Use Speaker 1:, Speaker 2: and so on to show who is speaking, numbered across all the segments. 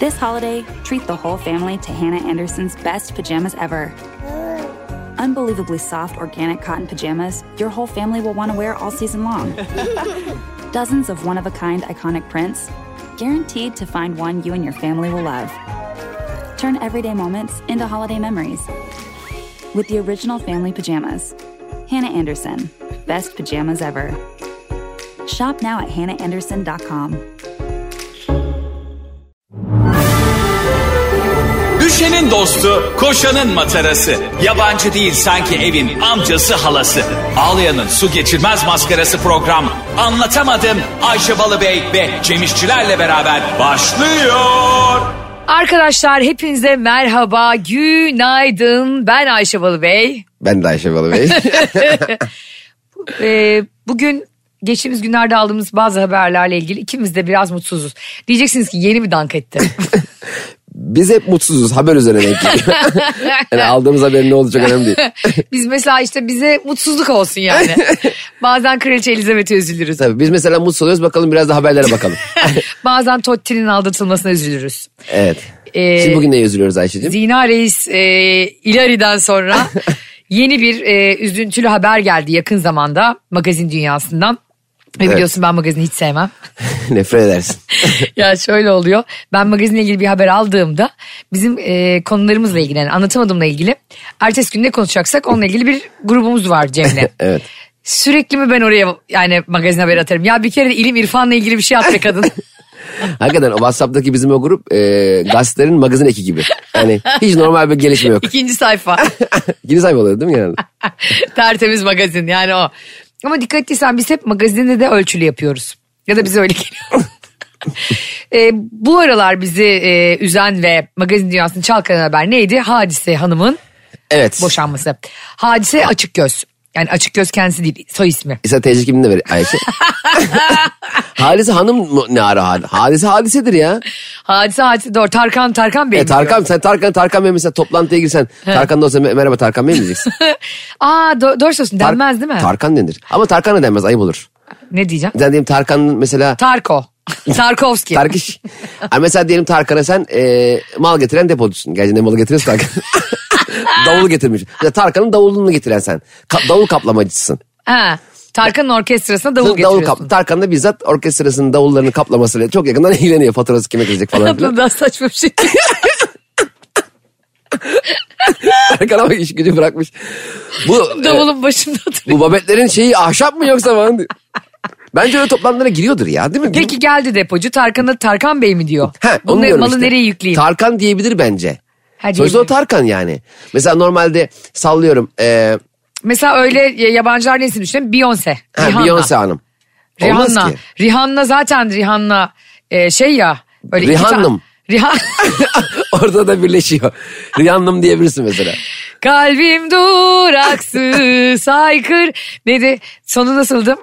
Speaker 1: This holiday, treat the whole family to Hannah Anderson's best pajamas ever. Unbelievably soft organic cotton pajamas your whole family will want to wear all season long. Dozens of one of a kind iconic prints, guaranteed to find one you and your family will love. Turn everyday moments into holiday memories with the original family pajamas. Hannah Anderson, best pajamas ever. Shop now at hannahanderson.com.
Speaker 2: Düşenin dostu, koşanın matarası. Yabancı değil sanki evin amcası halası. Ağlayanın su geçirmez maskarası program. Anlatamadım Ayşe Balıbey ve Cemişçilerle beraber başlıyor.
Speaker 3: Arkadaşlar hepinize merhaba, günaydın. Ben Ayşe Balıbey.
Speaker 4: Ben de Ayşe Balı Bey.
Speaker 3: Ee, bugün geçtiğimiz günlerde aldığımız bazı haberlerle ilgili ikimiz de biraz mutsuzuz. Diyeceksiniz ki yeni mi dank etti?
Speaker 4: Biz hep mutsuzuz haber üzerine denk geliyor. yani aldığımız haberin ne olacak önemli değil.
Speaker 3: Biz mesela işte bize mutsuzluk olsun yani. Bazen Kraliçe Elizabeth'e üzülürüz.
Speaker 4: Tabii biz mesela mutsuz oluyoruz bakalım biraz da haberlere bakalım.
Speaker 3: Bazen Totti'nin aldatılmasına üzülürüz.
Speaker 4: evet.
Speaker 3: Ee,
Speaker 4: Şimdi bugün ne üzülüyoruz Ayşe'ciğim?
Speaker 3: Zina Reis e, İlari'den sonra yeni bir e, üzüntülü haber geldi yakın zamanda magazin dünyasından. Ve
Speaker 4: Evet.
Speaker 3: biliyorsun ben magazini hiç sevmem.
Speaker 4: Nefret edersin.
Speaker 3: ya şöyle oluyor. Ben magazinle ilgili bir haber aldığımda bizim e, konularımızla ilgili yani anlatamadığımla ilgili ertesi gün ne konuşacaksak onunla ilgili bir grubumuz var Cem'le.
Speaker 4: Evet.
Speaker 3: Sürekli mi ben oraya yani magazin haberi atarım? Ya bir kere de ilim irfanla ilgili bir şey at be kadın.
Speaker 4: Hakikaten o WhatsApp'taki bizim o grup e, gazetelerin magazin eki gibi. Yani hiç normal bir gelişme yok.
Speaker 3: İkinci sayfa.
Speaker 4: Yeni sayfa oluyor değil mi genelde?
Speaker 3: Tertemiz magazin yani o. Ama dikkat ettiysen biz hep magazinde de ölçülü yapıyoruz. Ya da bize öyle geliyor. E, bu aralar bizi e, üzen ve magazin dünyasını çalkalan haber neydi? Hadise Hanım'ın
Speaker 4: Evet.
Speaker 3: boşanması. Hadise açık göz. Yani açık göz kendisi değil soy ismi.
Speaker 4: İsa teyze kimini de ver Ayşe? Halise hanım mı ne ara hadise? Hadise hadisedir ya.
Speaker 3: Hadise hadise doğru. Tarkan Tarkan Bey.
Speaker 4: E,
Speaker 3: mi
Speaker 4: Tarkan sen Tarkan Tarkan Bey mesela toplantıya girsen Tarkan da olsa "Me- merhaba Tarkan Bey mi diyeceksin?
Speaker 3: diyor? Aa do- doğru söylüyorsun
Speaker 4: Tar-
Speaker 3: denmez değil mi?
Speaker 4: Tarkan denir. Ama Tarkan'a denmez ayıp olur.
Speaker 3: ne diyeceğim?
Speaker 4: Sen diyelim Tarkan'ın mesela
Speaker 3: Tarko. Tarkovski.
Speaker 4: Tarkiş. Ha, mesela diyelim Tarkan'a sen e, mal getiren depocusun. Gerçi ne malı getiriyorsun Tarkan? Davulu getirmiş. Mesela Tarkan'ın davulunu getiren sen. Ka- davul kaplamacısın.
Speaker 3: ha, Tarkan'ın orkestrasına davul
Speaker 4: davul
Speaker 3: getiriyorsun.
Speaker 4: kap Tarkan da bizzat orkestrasının davullarını kaplamasıyla çok yakından eğleniyor. Faturası kime gelecek falan filan.
Speaker 3: Bu daha saçma bir şey.
Speaker 4: Tarkan ama iş gücü bırakmış. Bu, e,
Speaker 3: Davulun başında duruyor.
Speaker 4: bu babetlerin şeyi ahşap mı yoksa falan diyor. Bence öyle toplantılara giriyordur ya değil mi?
Speaker 3: Peki geldi depocu Tarkan'a Tarkan Bey mi diyor?
Speaker 4: Ha, onu
Speaker 3: Bunları
Speaker 4: diyorum
Speaker 3: malı
Speaker 4: işte.
Speaker 3: nereye yükleyeyim?
Speaker 4: Tarkan diyebilir bence.
Speaker 3: Ha,
Speaker 4: Sonuçta o
Speaker 3: diyebilir.
Speaker 4: Tarkan yani. Mesela normalde sallıyorum. E,
Speaker 3: Mesela öyle e, yabancılar nesini düşünelim? Beyoncé.
Speaker 4: ha,
Speaker 3: Rihanna.
Speaker 4: Beyoncé Hanım. Olmaz
Speaker 3: Rihanna.
Speaker 4: ki.
Speaker 3: Rihanna zaten Rihanna e, şey ya. Böyle iki
Speaker 4: Rihanna'm.
Speaker 3: tane- Rihan
Speaker 4: Orada da birleşiyor. Rihanna'm diyebilirsin mesela.
Speaker 3: Kalbim duraksız haykır. Neydi? Sonu nasıldı?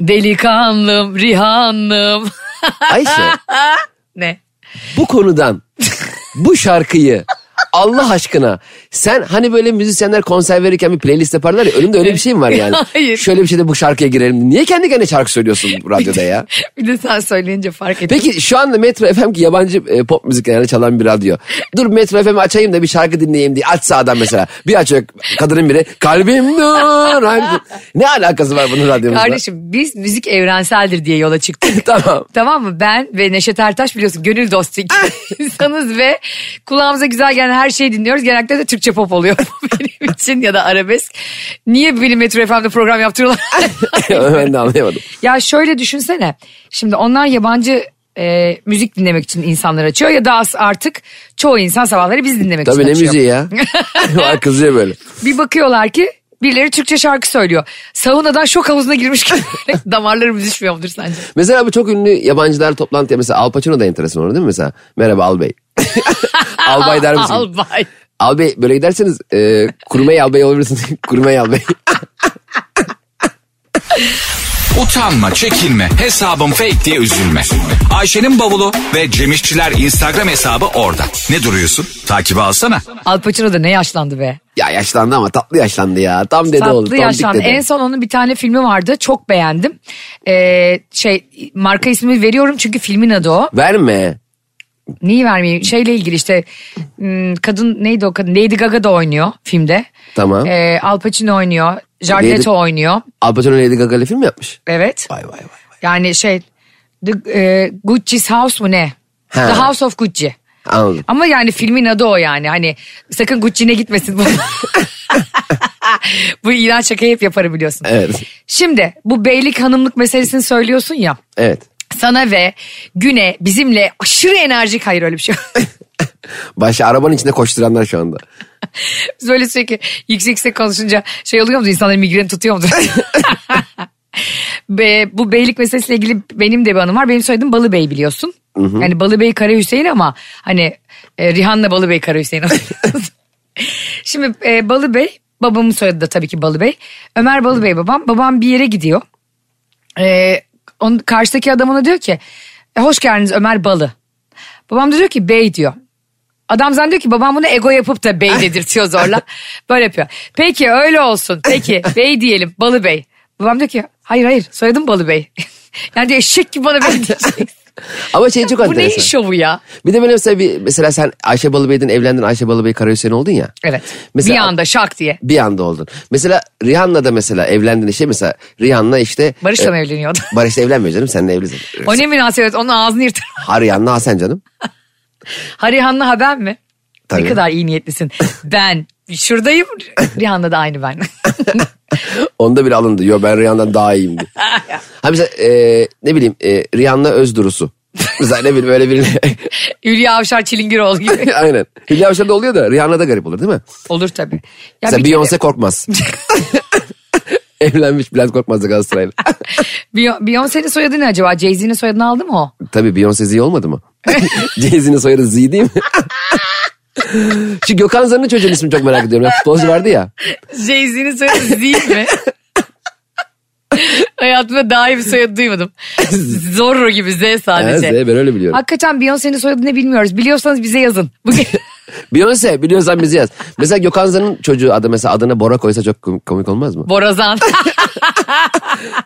Speaker 3: Delikanlım, Rihannım.
Speaker 4: Ayşe
Speaker 3: ne?
Speaker 4: bu konudan bu şarkıyı Allah aşkına sen hani böyle müzisyenler konser verirken bir playlist yaparlar ya önünde öyle bir şey mi var yani?
Speaker 3: Hayır.
Speaker 4: Şöyle bir şeyde bu şarkıya girelim. Niye kendi kendine şarkı söylüyorsun bu radyoda ya?
Speaker 3: Bir de sen söyleyince fark ettim.
Speaker 4: Peki şu anda Metro FM ki yabancı e, pop müzik yani çalan bir radyo. Dur Metro FM'i açayım da bir şarkı dinleyeyim diye açsa adam mesela. Bir açıyor kadının biri kalbim dur. ne alakası var bunun radyomuzla?
Speaker 3: Kardeşim biz müzik evrenseldir diye yola çıktık.
Speaker 4: Tamam.
Speaker 3: Tamam mı? Ben ve Neşet Ertaş biliyorsun gönül dostu iki insanız ve kulağımıza güzel gelen her şeyi dinliyoruz. Genellikle de Türkçe pop oluyor benim için ya da arabesk. Niye benim Metro FM'de program yaptırıyorlar?
Speaker 4: ben de anlayamadım.
Speaker 3: ya şöyle düşünsene. Şimdi onlar yabancı e, müzik dinlemek için insanlar açıyor ya da as- artık çoğu insan sabahları biz dinlemek
Speaker 4: Tabii
Speaker 3: için
Speaker 4: ne
Speaker 3: açıyor.
Speaker 4: müziği ya. Var kızıyor böyle.
Speaker 3: Bir bakıyorlar ki birileri Türkçe şarkı söylüyor. Saunadan şok havuzuna girmiş gibi damarlarımız düşmüyor mudur sence?
Speaker 4: Mesela bu çok ünlü yabancılar toplantıya mesela Al Pacino da enteresan orada değil mi mesela? Merhaba Albay. Albay der misin?
Speaker 3: Albay.
Speaker 4: Albay böyle giderseniz e, kurumay albay olabilirsiniz. kurumay albay.
Speaker 2: Utanma, çekinme, hesabım fake diye üzülme. Ayşe'nin bavulu ve Cemişçiler Instagram hesabı orada. Ne duruyorsun? Takibi alsana.
Speaker 3: Al Pacino da ne yaşlandı be.
Speaker 4: ya yaşlandı ama tatlı yaşlandı ya. E, Tam dede oldu.
Speaker 3: Tatlı
Speaker 4: tontik
Speaker 3: yaşlandı.
Speaker 4: dede.
Speaker 3: En son onun bir tane filmi vardı. Çok beğendim. Ee, şey marka ismi veriyorum çünkü filmin adı o.
Speaker 4: Verme.
Speaker 3: Neyi vermeyeyim? Şeyle ilgili işte hmm, kadın neydi o kadın? Lady Gaga da oynuyor filmde.
Speaker 4: Tamam.
Speaker 3: Ee, Al Pacino oynuyor. Jared
Speaker 4: Lady-
Speaker 3: Leto oynuyor.
Speaker 4: Al Pacino Lady Gaga ile film mi yapmış?
Speaker 3: Evet.
Speaker 4: Vay vay vay.
Speaker 3: Yani şey The e, Gucci's House mu ne?
Speaker 4: Ha.
Speaker 3: The House of Gucci.
Speaker 4: Anladım.
Speaker 3: Ama yani filmin adı o yani. Hani sakın Gucci'ne gitmesin. bu. bu iğrenç şakayı hep yaparım biliyorsun.
Speaker 4: Evet.
Speaker 3: Şimdi bu beylik hanımlık meselesini söylüyorsun ya.
Speaker 4: Evet.
Speaker 3: Sana ve güne bizimle aşırı enerjik hayır öyle bir şey. yok.
Speaker 4: Başka arabanın içinde koşturanlar şu anda.
Speaker 3: Biz böyle sürekli yüksek yüksek konuşunca şey oluyor mu? İnsanların migreni tutuyor mu? Be, bu beylik meselesiyle ilgili benim de bir anım var. Benim soyadım Balı Bey biliyorsun. Yani Balı Bey Kara Hüseyin ama hani e, Rihanna Balı Bey Kara Hüseyin. Şimdi e, Balı Bey babamın soyadı da tabii ki Balı Bey. Ömer Balı Bey babam. Babam bir yere gidiyor. E, onun, karşıdaki adam ona diyor ki "E, hoş geldiniz Ömer Balı. Babam da diyor ki bey diyor. Adam zannediyor ki babam bunu ego yapıp da bey dedirtiyor zorla. Böyle yapıyor. Peki öyle olsun. Peki bey diyelim balı bey. Babam diyor ki hayır hayır soyadım balı bey. yani diyor eşek gibi bana bey diyeceksin.
Speaker 4: Ama şey çok
Speaker 3: Bu neyin
Speaker 4: enteresan.
Speaker 3: şovu ya?
Speaker 4: Bir de böyle mesela, bir, mesela sen Ayşe Balıbey'den evlendin Ayşe Balıbey Karahüseyin oldun ya.
Speaker 3: Evet.
Speaker 4: Mesela-
Speaker 3: bir anda şak diye.
Speaker 4: Bir anda oldun. Mesela Rihanna da mesela evlendin şey mesela Rihanna işte.
Speaker 3: Barış'la
Speaker 4: e,
Speaker 3: mı evleniyordu?
Speaker 4: Barış'la evlenmiyor canım seninle evlisin.
Speaker 3: O ne münasebet onun ağzını yırtar.
Speaker 4: Ha Rihanna Hasan canım.
Speaker 3: Harihan'la haber mi?
Speaker 4: Tabii.
Speaker 3: Ne kadar iyi niyetlisin. Ben şuradayım. Rihanna da aynı ben.
Speaker 4: Onda bile alındı. Yo ben Rihanna'dan daha iyiyim diye. ha mesela e, ne bileyim e, Rihanna Özdurusu. mesela ne bileyim öyle birine.
Speaker 3: Hülya Avşar Çilingiroğlu gibi.
Speaker 4: Aynen. Hülya Avşar'da oluyor da Rihanna'da garip olur değil mi?
Speaker 3: Olur tabii. Ya
Speaker 4: mesela
Speaker 3: bir kere-
Speaker 4: Beyoncé korkmaz. Evlenmiş Bülent Korkmaz'la Galatasaray'la.
Speaker 3: Beyon- Beyoncé'nin soyadı ne acaba? Jay-Z'nin soyadını aldı mı o?
Speaker 4: Tabii Beyoncé Z olmadı mı? Jay-Z'nin soyadı Z değil mi? Şu Gökhan Zan'ın çocuğun ismini çok merak ediyorum. Ya, Futbolcu vardı ya.
Speaker 3: Jay-Z'nin soyadı Z mi? Hayatımda daha iyi bir soyadı duymadım. Zorro gibi Z
Speaker 4: Ha, Z,
Speaker 3: sadece.
Speaker 4: ben öyle biliyorum.
Speaker 3: Hakikaten Beyoncé'nin soyadı ne bilmiyoruz. Biliyorsanız bize yazın. Bugün
Speaker 4: Beyoncé biliyorsan bizi yaz. Mesela Gökhan Zan'ın çocuğu adı mesela adına Bora koysa çok kom- komik olmaz mı?
Speaker 3: Borazan.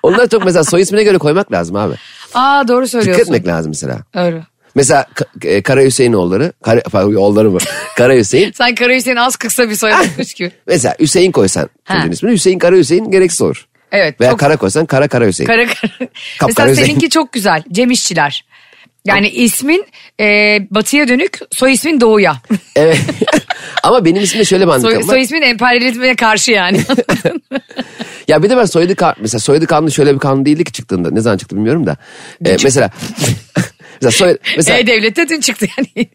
Speaker 4: Onlar çok mesela soy ismine göre koymak lazım abi.
Speaker 3: Aa doğru
Speaker 4: Dikkat
Speaker 3: söylüyorsun.
Speaker 4: etmek lazım mesela.
Speaker 3: Doğru.
Speaker 4: Mesela Ka- e, Kara Hüseyin oğulları, Kara, pardon, oğulları mı? Kara Hüseyin.
Speaker 3: Sen Karayüseyin az kıksa bir soyadıymış gibi.
Speaker 4: Mesela Hüseyin koysan
Speaker 3: Ha.
Speaker 4: çocuğun ismini Hüseyin Kara Hüseyin gereksiz olur.
Speaker 3: Evet.
Speaker 4: Veya
Speaker 3: çok-
Speaker 4: Kara koysan Kara Kara Hüseyin.
Speaker 3: Kara kara.
Speaker 4: Kapkara
Speaker 3: Mesela
Speaker 4: özel.
Speaker 3: seninki çok güzel. Cem İşçiler. Yani ismin e, batıya dönük, soy ismin doğuya.
Speaker 4: Evet. Ama benim ismimde şöyle bir
Speaker 3: Soy,
Speaker 4: handikap var.
Speaker 3: soy ismin emperyalizme karşı yani.
Speaker 4: Ya bir de ben soyadı kanun, mesela soyadı kanunu şöyle bir kanun değildi ki çıktığında. Ne zaman çıktı bilmiyorum da. Ee, mesela mesela,
Speaker 3: E,
Speaker 4: soy, mesela
Speaker 3: E-Devlet'te dün çıktı yani.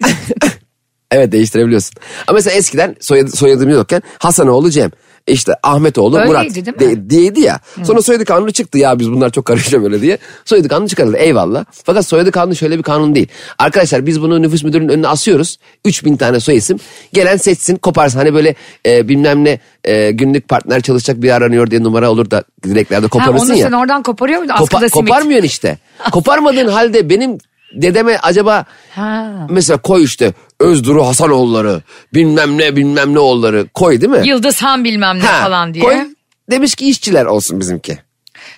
Speaker 4: evet değiştirebiliyorsun. Ama mesela eskiden soyadı, soyadım yokken Hasanoğlu Cem. İşte Ahmetoğlu
Speaker 3: Öyleydi,
Speaker 4: Murat
Speaker 3: değil mi?
Speaker 4: de- diyeydi ya. Sonra soyadı kanunu çıktı ya biz bunlar çok karışıyor böyle diye. Soyadı kanunu çıkarıldı eyvallah. Fakat soyadı kanunu şöyle bir kanun değil. Arkadaşlar biz bunu nüfus müdürünün önüne asıyoruz. 3000 tane soy isim. Gelen seçsin koparsın. Hani böyle e, bilmem ne e, günlük partner çalışacak bir aranıyor diye numara olur da dileklerde
Speaker 3: ha,
Speaker 4: koparırsın
Speaker 3: onu
Speaker 4: ya.
Speaker 3: sen oradan koparıyor muydun?
Speaker 4: Kopa-
Speaker 3: Askıda simit.
Speaker 4: koparmıyorsun işte. Koparmadığın halde benim dedeme acaba
Speaker 3: Ha.
Speaker 4: mesela koy işte Özduru Hasanoğulları bilmem ne bilmem ne oğulları koy değil mi?
Speaker 3: Yıldız Han bilmem ne
Speaker 4: Ha,
Speaker 3: falan diye.
Speaker 4: Koy, demiş ki işçiler olsun bizimki.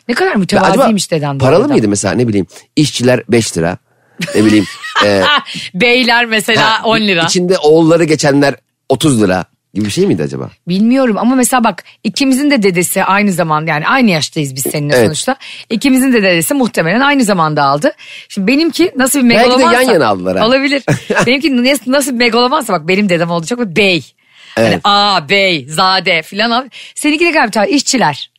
Speaker 3: Ne kadar
Speaker 4: Ve
Speaker 3: mütevaziymiş dedem. bu
Speaker 4: paralı
Speaker 3: arada.
Speaker 4: mıydı mesela ne bileyim işçiler 5 lira ne bileyim. e,
Speaker 3: Ah, Beyler mesela
Speaker 4: ha,
Speaker 3: 10 lira.
Speaker 4: İçinde oğulları geçenler 30 lira gibi bir şey miydi acaba?
Speaker 3: Bilmiyorum ama mesela bak ikimizin de dedesi aynı zamanda yani aynı yaştayız biz seninle
Speaker 4: Evet.
Speaker 3: sonuçta. İkimizin de dedesi muhtemelen aynı zamanda aldı. Şimdi benimki nasıl bir
Speaker 4: Belki de
Speaker 3: megalomansa.
Speaker 4: yan yana aldılar ha.
Speaker 3: Olabilir. benimki nas- nasıl bir megalomansa bak benim dedem olacak ve bey.
Speaker 4: Evet.
Speaker 3: Hani a bey, zade filan. al- Seninki de galiba işçiler.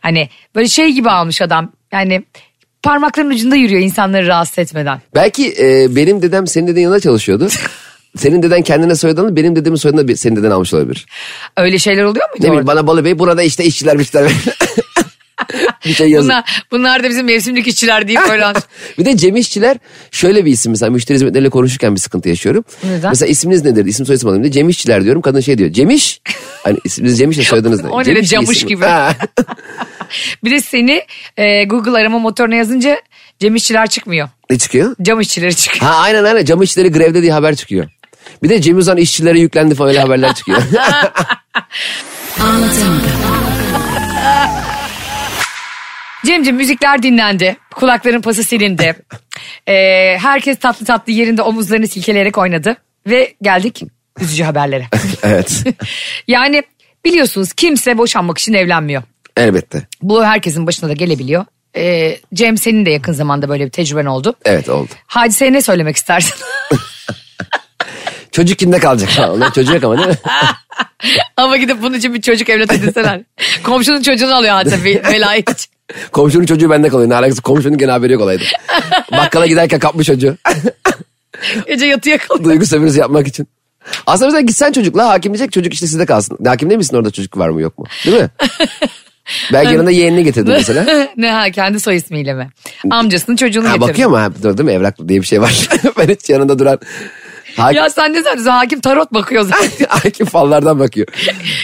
Speaker 3: Hani böyle şey gibi almış adam. Yani parmakların ucunda yürüyor insanları rahatsız etmeden.
Speaker 4: Belki e, benim dedem senin deden yanında çalışıyordu. senin deden kendine soyadını benim dedemin soyadını da senin deden almış olabilir.
Speaker 3: Öyle şeyler oluyor muydu
Speaker 4: Ne bileyim
Speaker 3: orada?
Speaker 4: bana Balı Bey burada işte işçiler işçiler. bir şey yazın.
Speaker 3: Bunlar, bunlar da bizim mevsimlik işçiler deyip böyle almış.
Speaker 4: bir de Cem İşçiler şöyle bir isim mesela müşteri hizmetleriyle konuşurken bir sıkıntı yaşıyorum.
Speaker 3: Neden?
Speaker 4: Mesela isminiz nedir? İsim soyisim alayım diye Cem İşçiler diyorum. Kadın şey diyor. Cemiş. Hani isminiz Cemiş de soyadınız ne?
Speaker 3: O ne
Speaker 4: Cemiş
Speaker 3: de
Speaker 4: mi
Speaker 3: camış
Speaker 4: isim?
Speaker 3: gibi.
Speaker 4: Ha.
Speaker 3: Bir de seni e, Google arama motoruna yazınca Cem İşçiler çıkmıyor.
Speaker 4: ne çıkıyor?
Speaker 3: Cam işçileri çıkıyor.
Speaker 4: Ha aynen aynen Cam İşçileri grevde diye haber çıkıyor. Bir de Cem Uzan işçilere yüklendi falan öyle haberler çıkıyor.
Speaker 3: Cem'ciğim müzikler dinlendi. Kulakların pası silindi. Ee, herkes tatlı tatlı yerinde omuzlarını silkeleyerek oynadı. Ve geldik üzücü haberlere.
Speaker 4: Evet.
Speaker 3: yani biliyorsunuz kimse boşanmak için evlenmiyor.
Speaker 4: Elbette.
Speaker 3: Bu herkesin başına da gelebiliyor. Ee, Cem senin de yakın zamanda böyle bir tecrüben oldu.
Speaker 4: Evet oldu.
Speaker 3: Hadiseye ne söylemek istersin?
Speaker 4: Çocuk kimde kalacak? Onlar çocuğu yok ama değil mi?
Speaker 3: Ama gidip bunun için bir çocuk evlat edinseler. Komşunun çocuğunu alıyor hatta bir velayet için.
Speaker 4: Komşunun çocuğu bende kalıyor. Ne alakası? Komşunun gene haberi yok olaydı. Bakkala giderken kapmış çocuğu.
Speaker 3: Gece yatıya kalıyor.
Speaker 4: Duygu sömürüsü yapmak için. Aslında mesela gitsen çocukla hakim diyecek çocuk işte sizde kalsın. Hakim değil misin orada çocuk var mı yok mu? Değil mi? Belki yanında yeğenini getirdin mesela.
Speaker 3: ne ha kendi soy ismiyle mi? Amcasının çocuğunu
Speaker 4: Ha,
Speaker 3: getirdi.
Speaker 4: bakıyor mu? Ha, dur değil mi? Evrak diye bir şey var. ben hiç yanında duran. Hakim,
Speaker 3: Ya sen ne zannediyorsun? Hakim tarot bakıyor zaten.
Speaker 4: hakim fallardan bakıyor.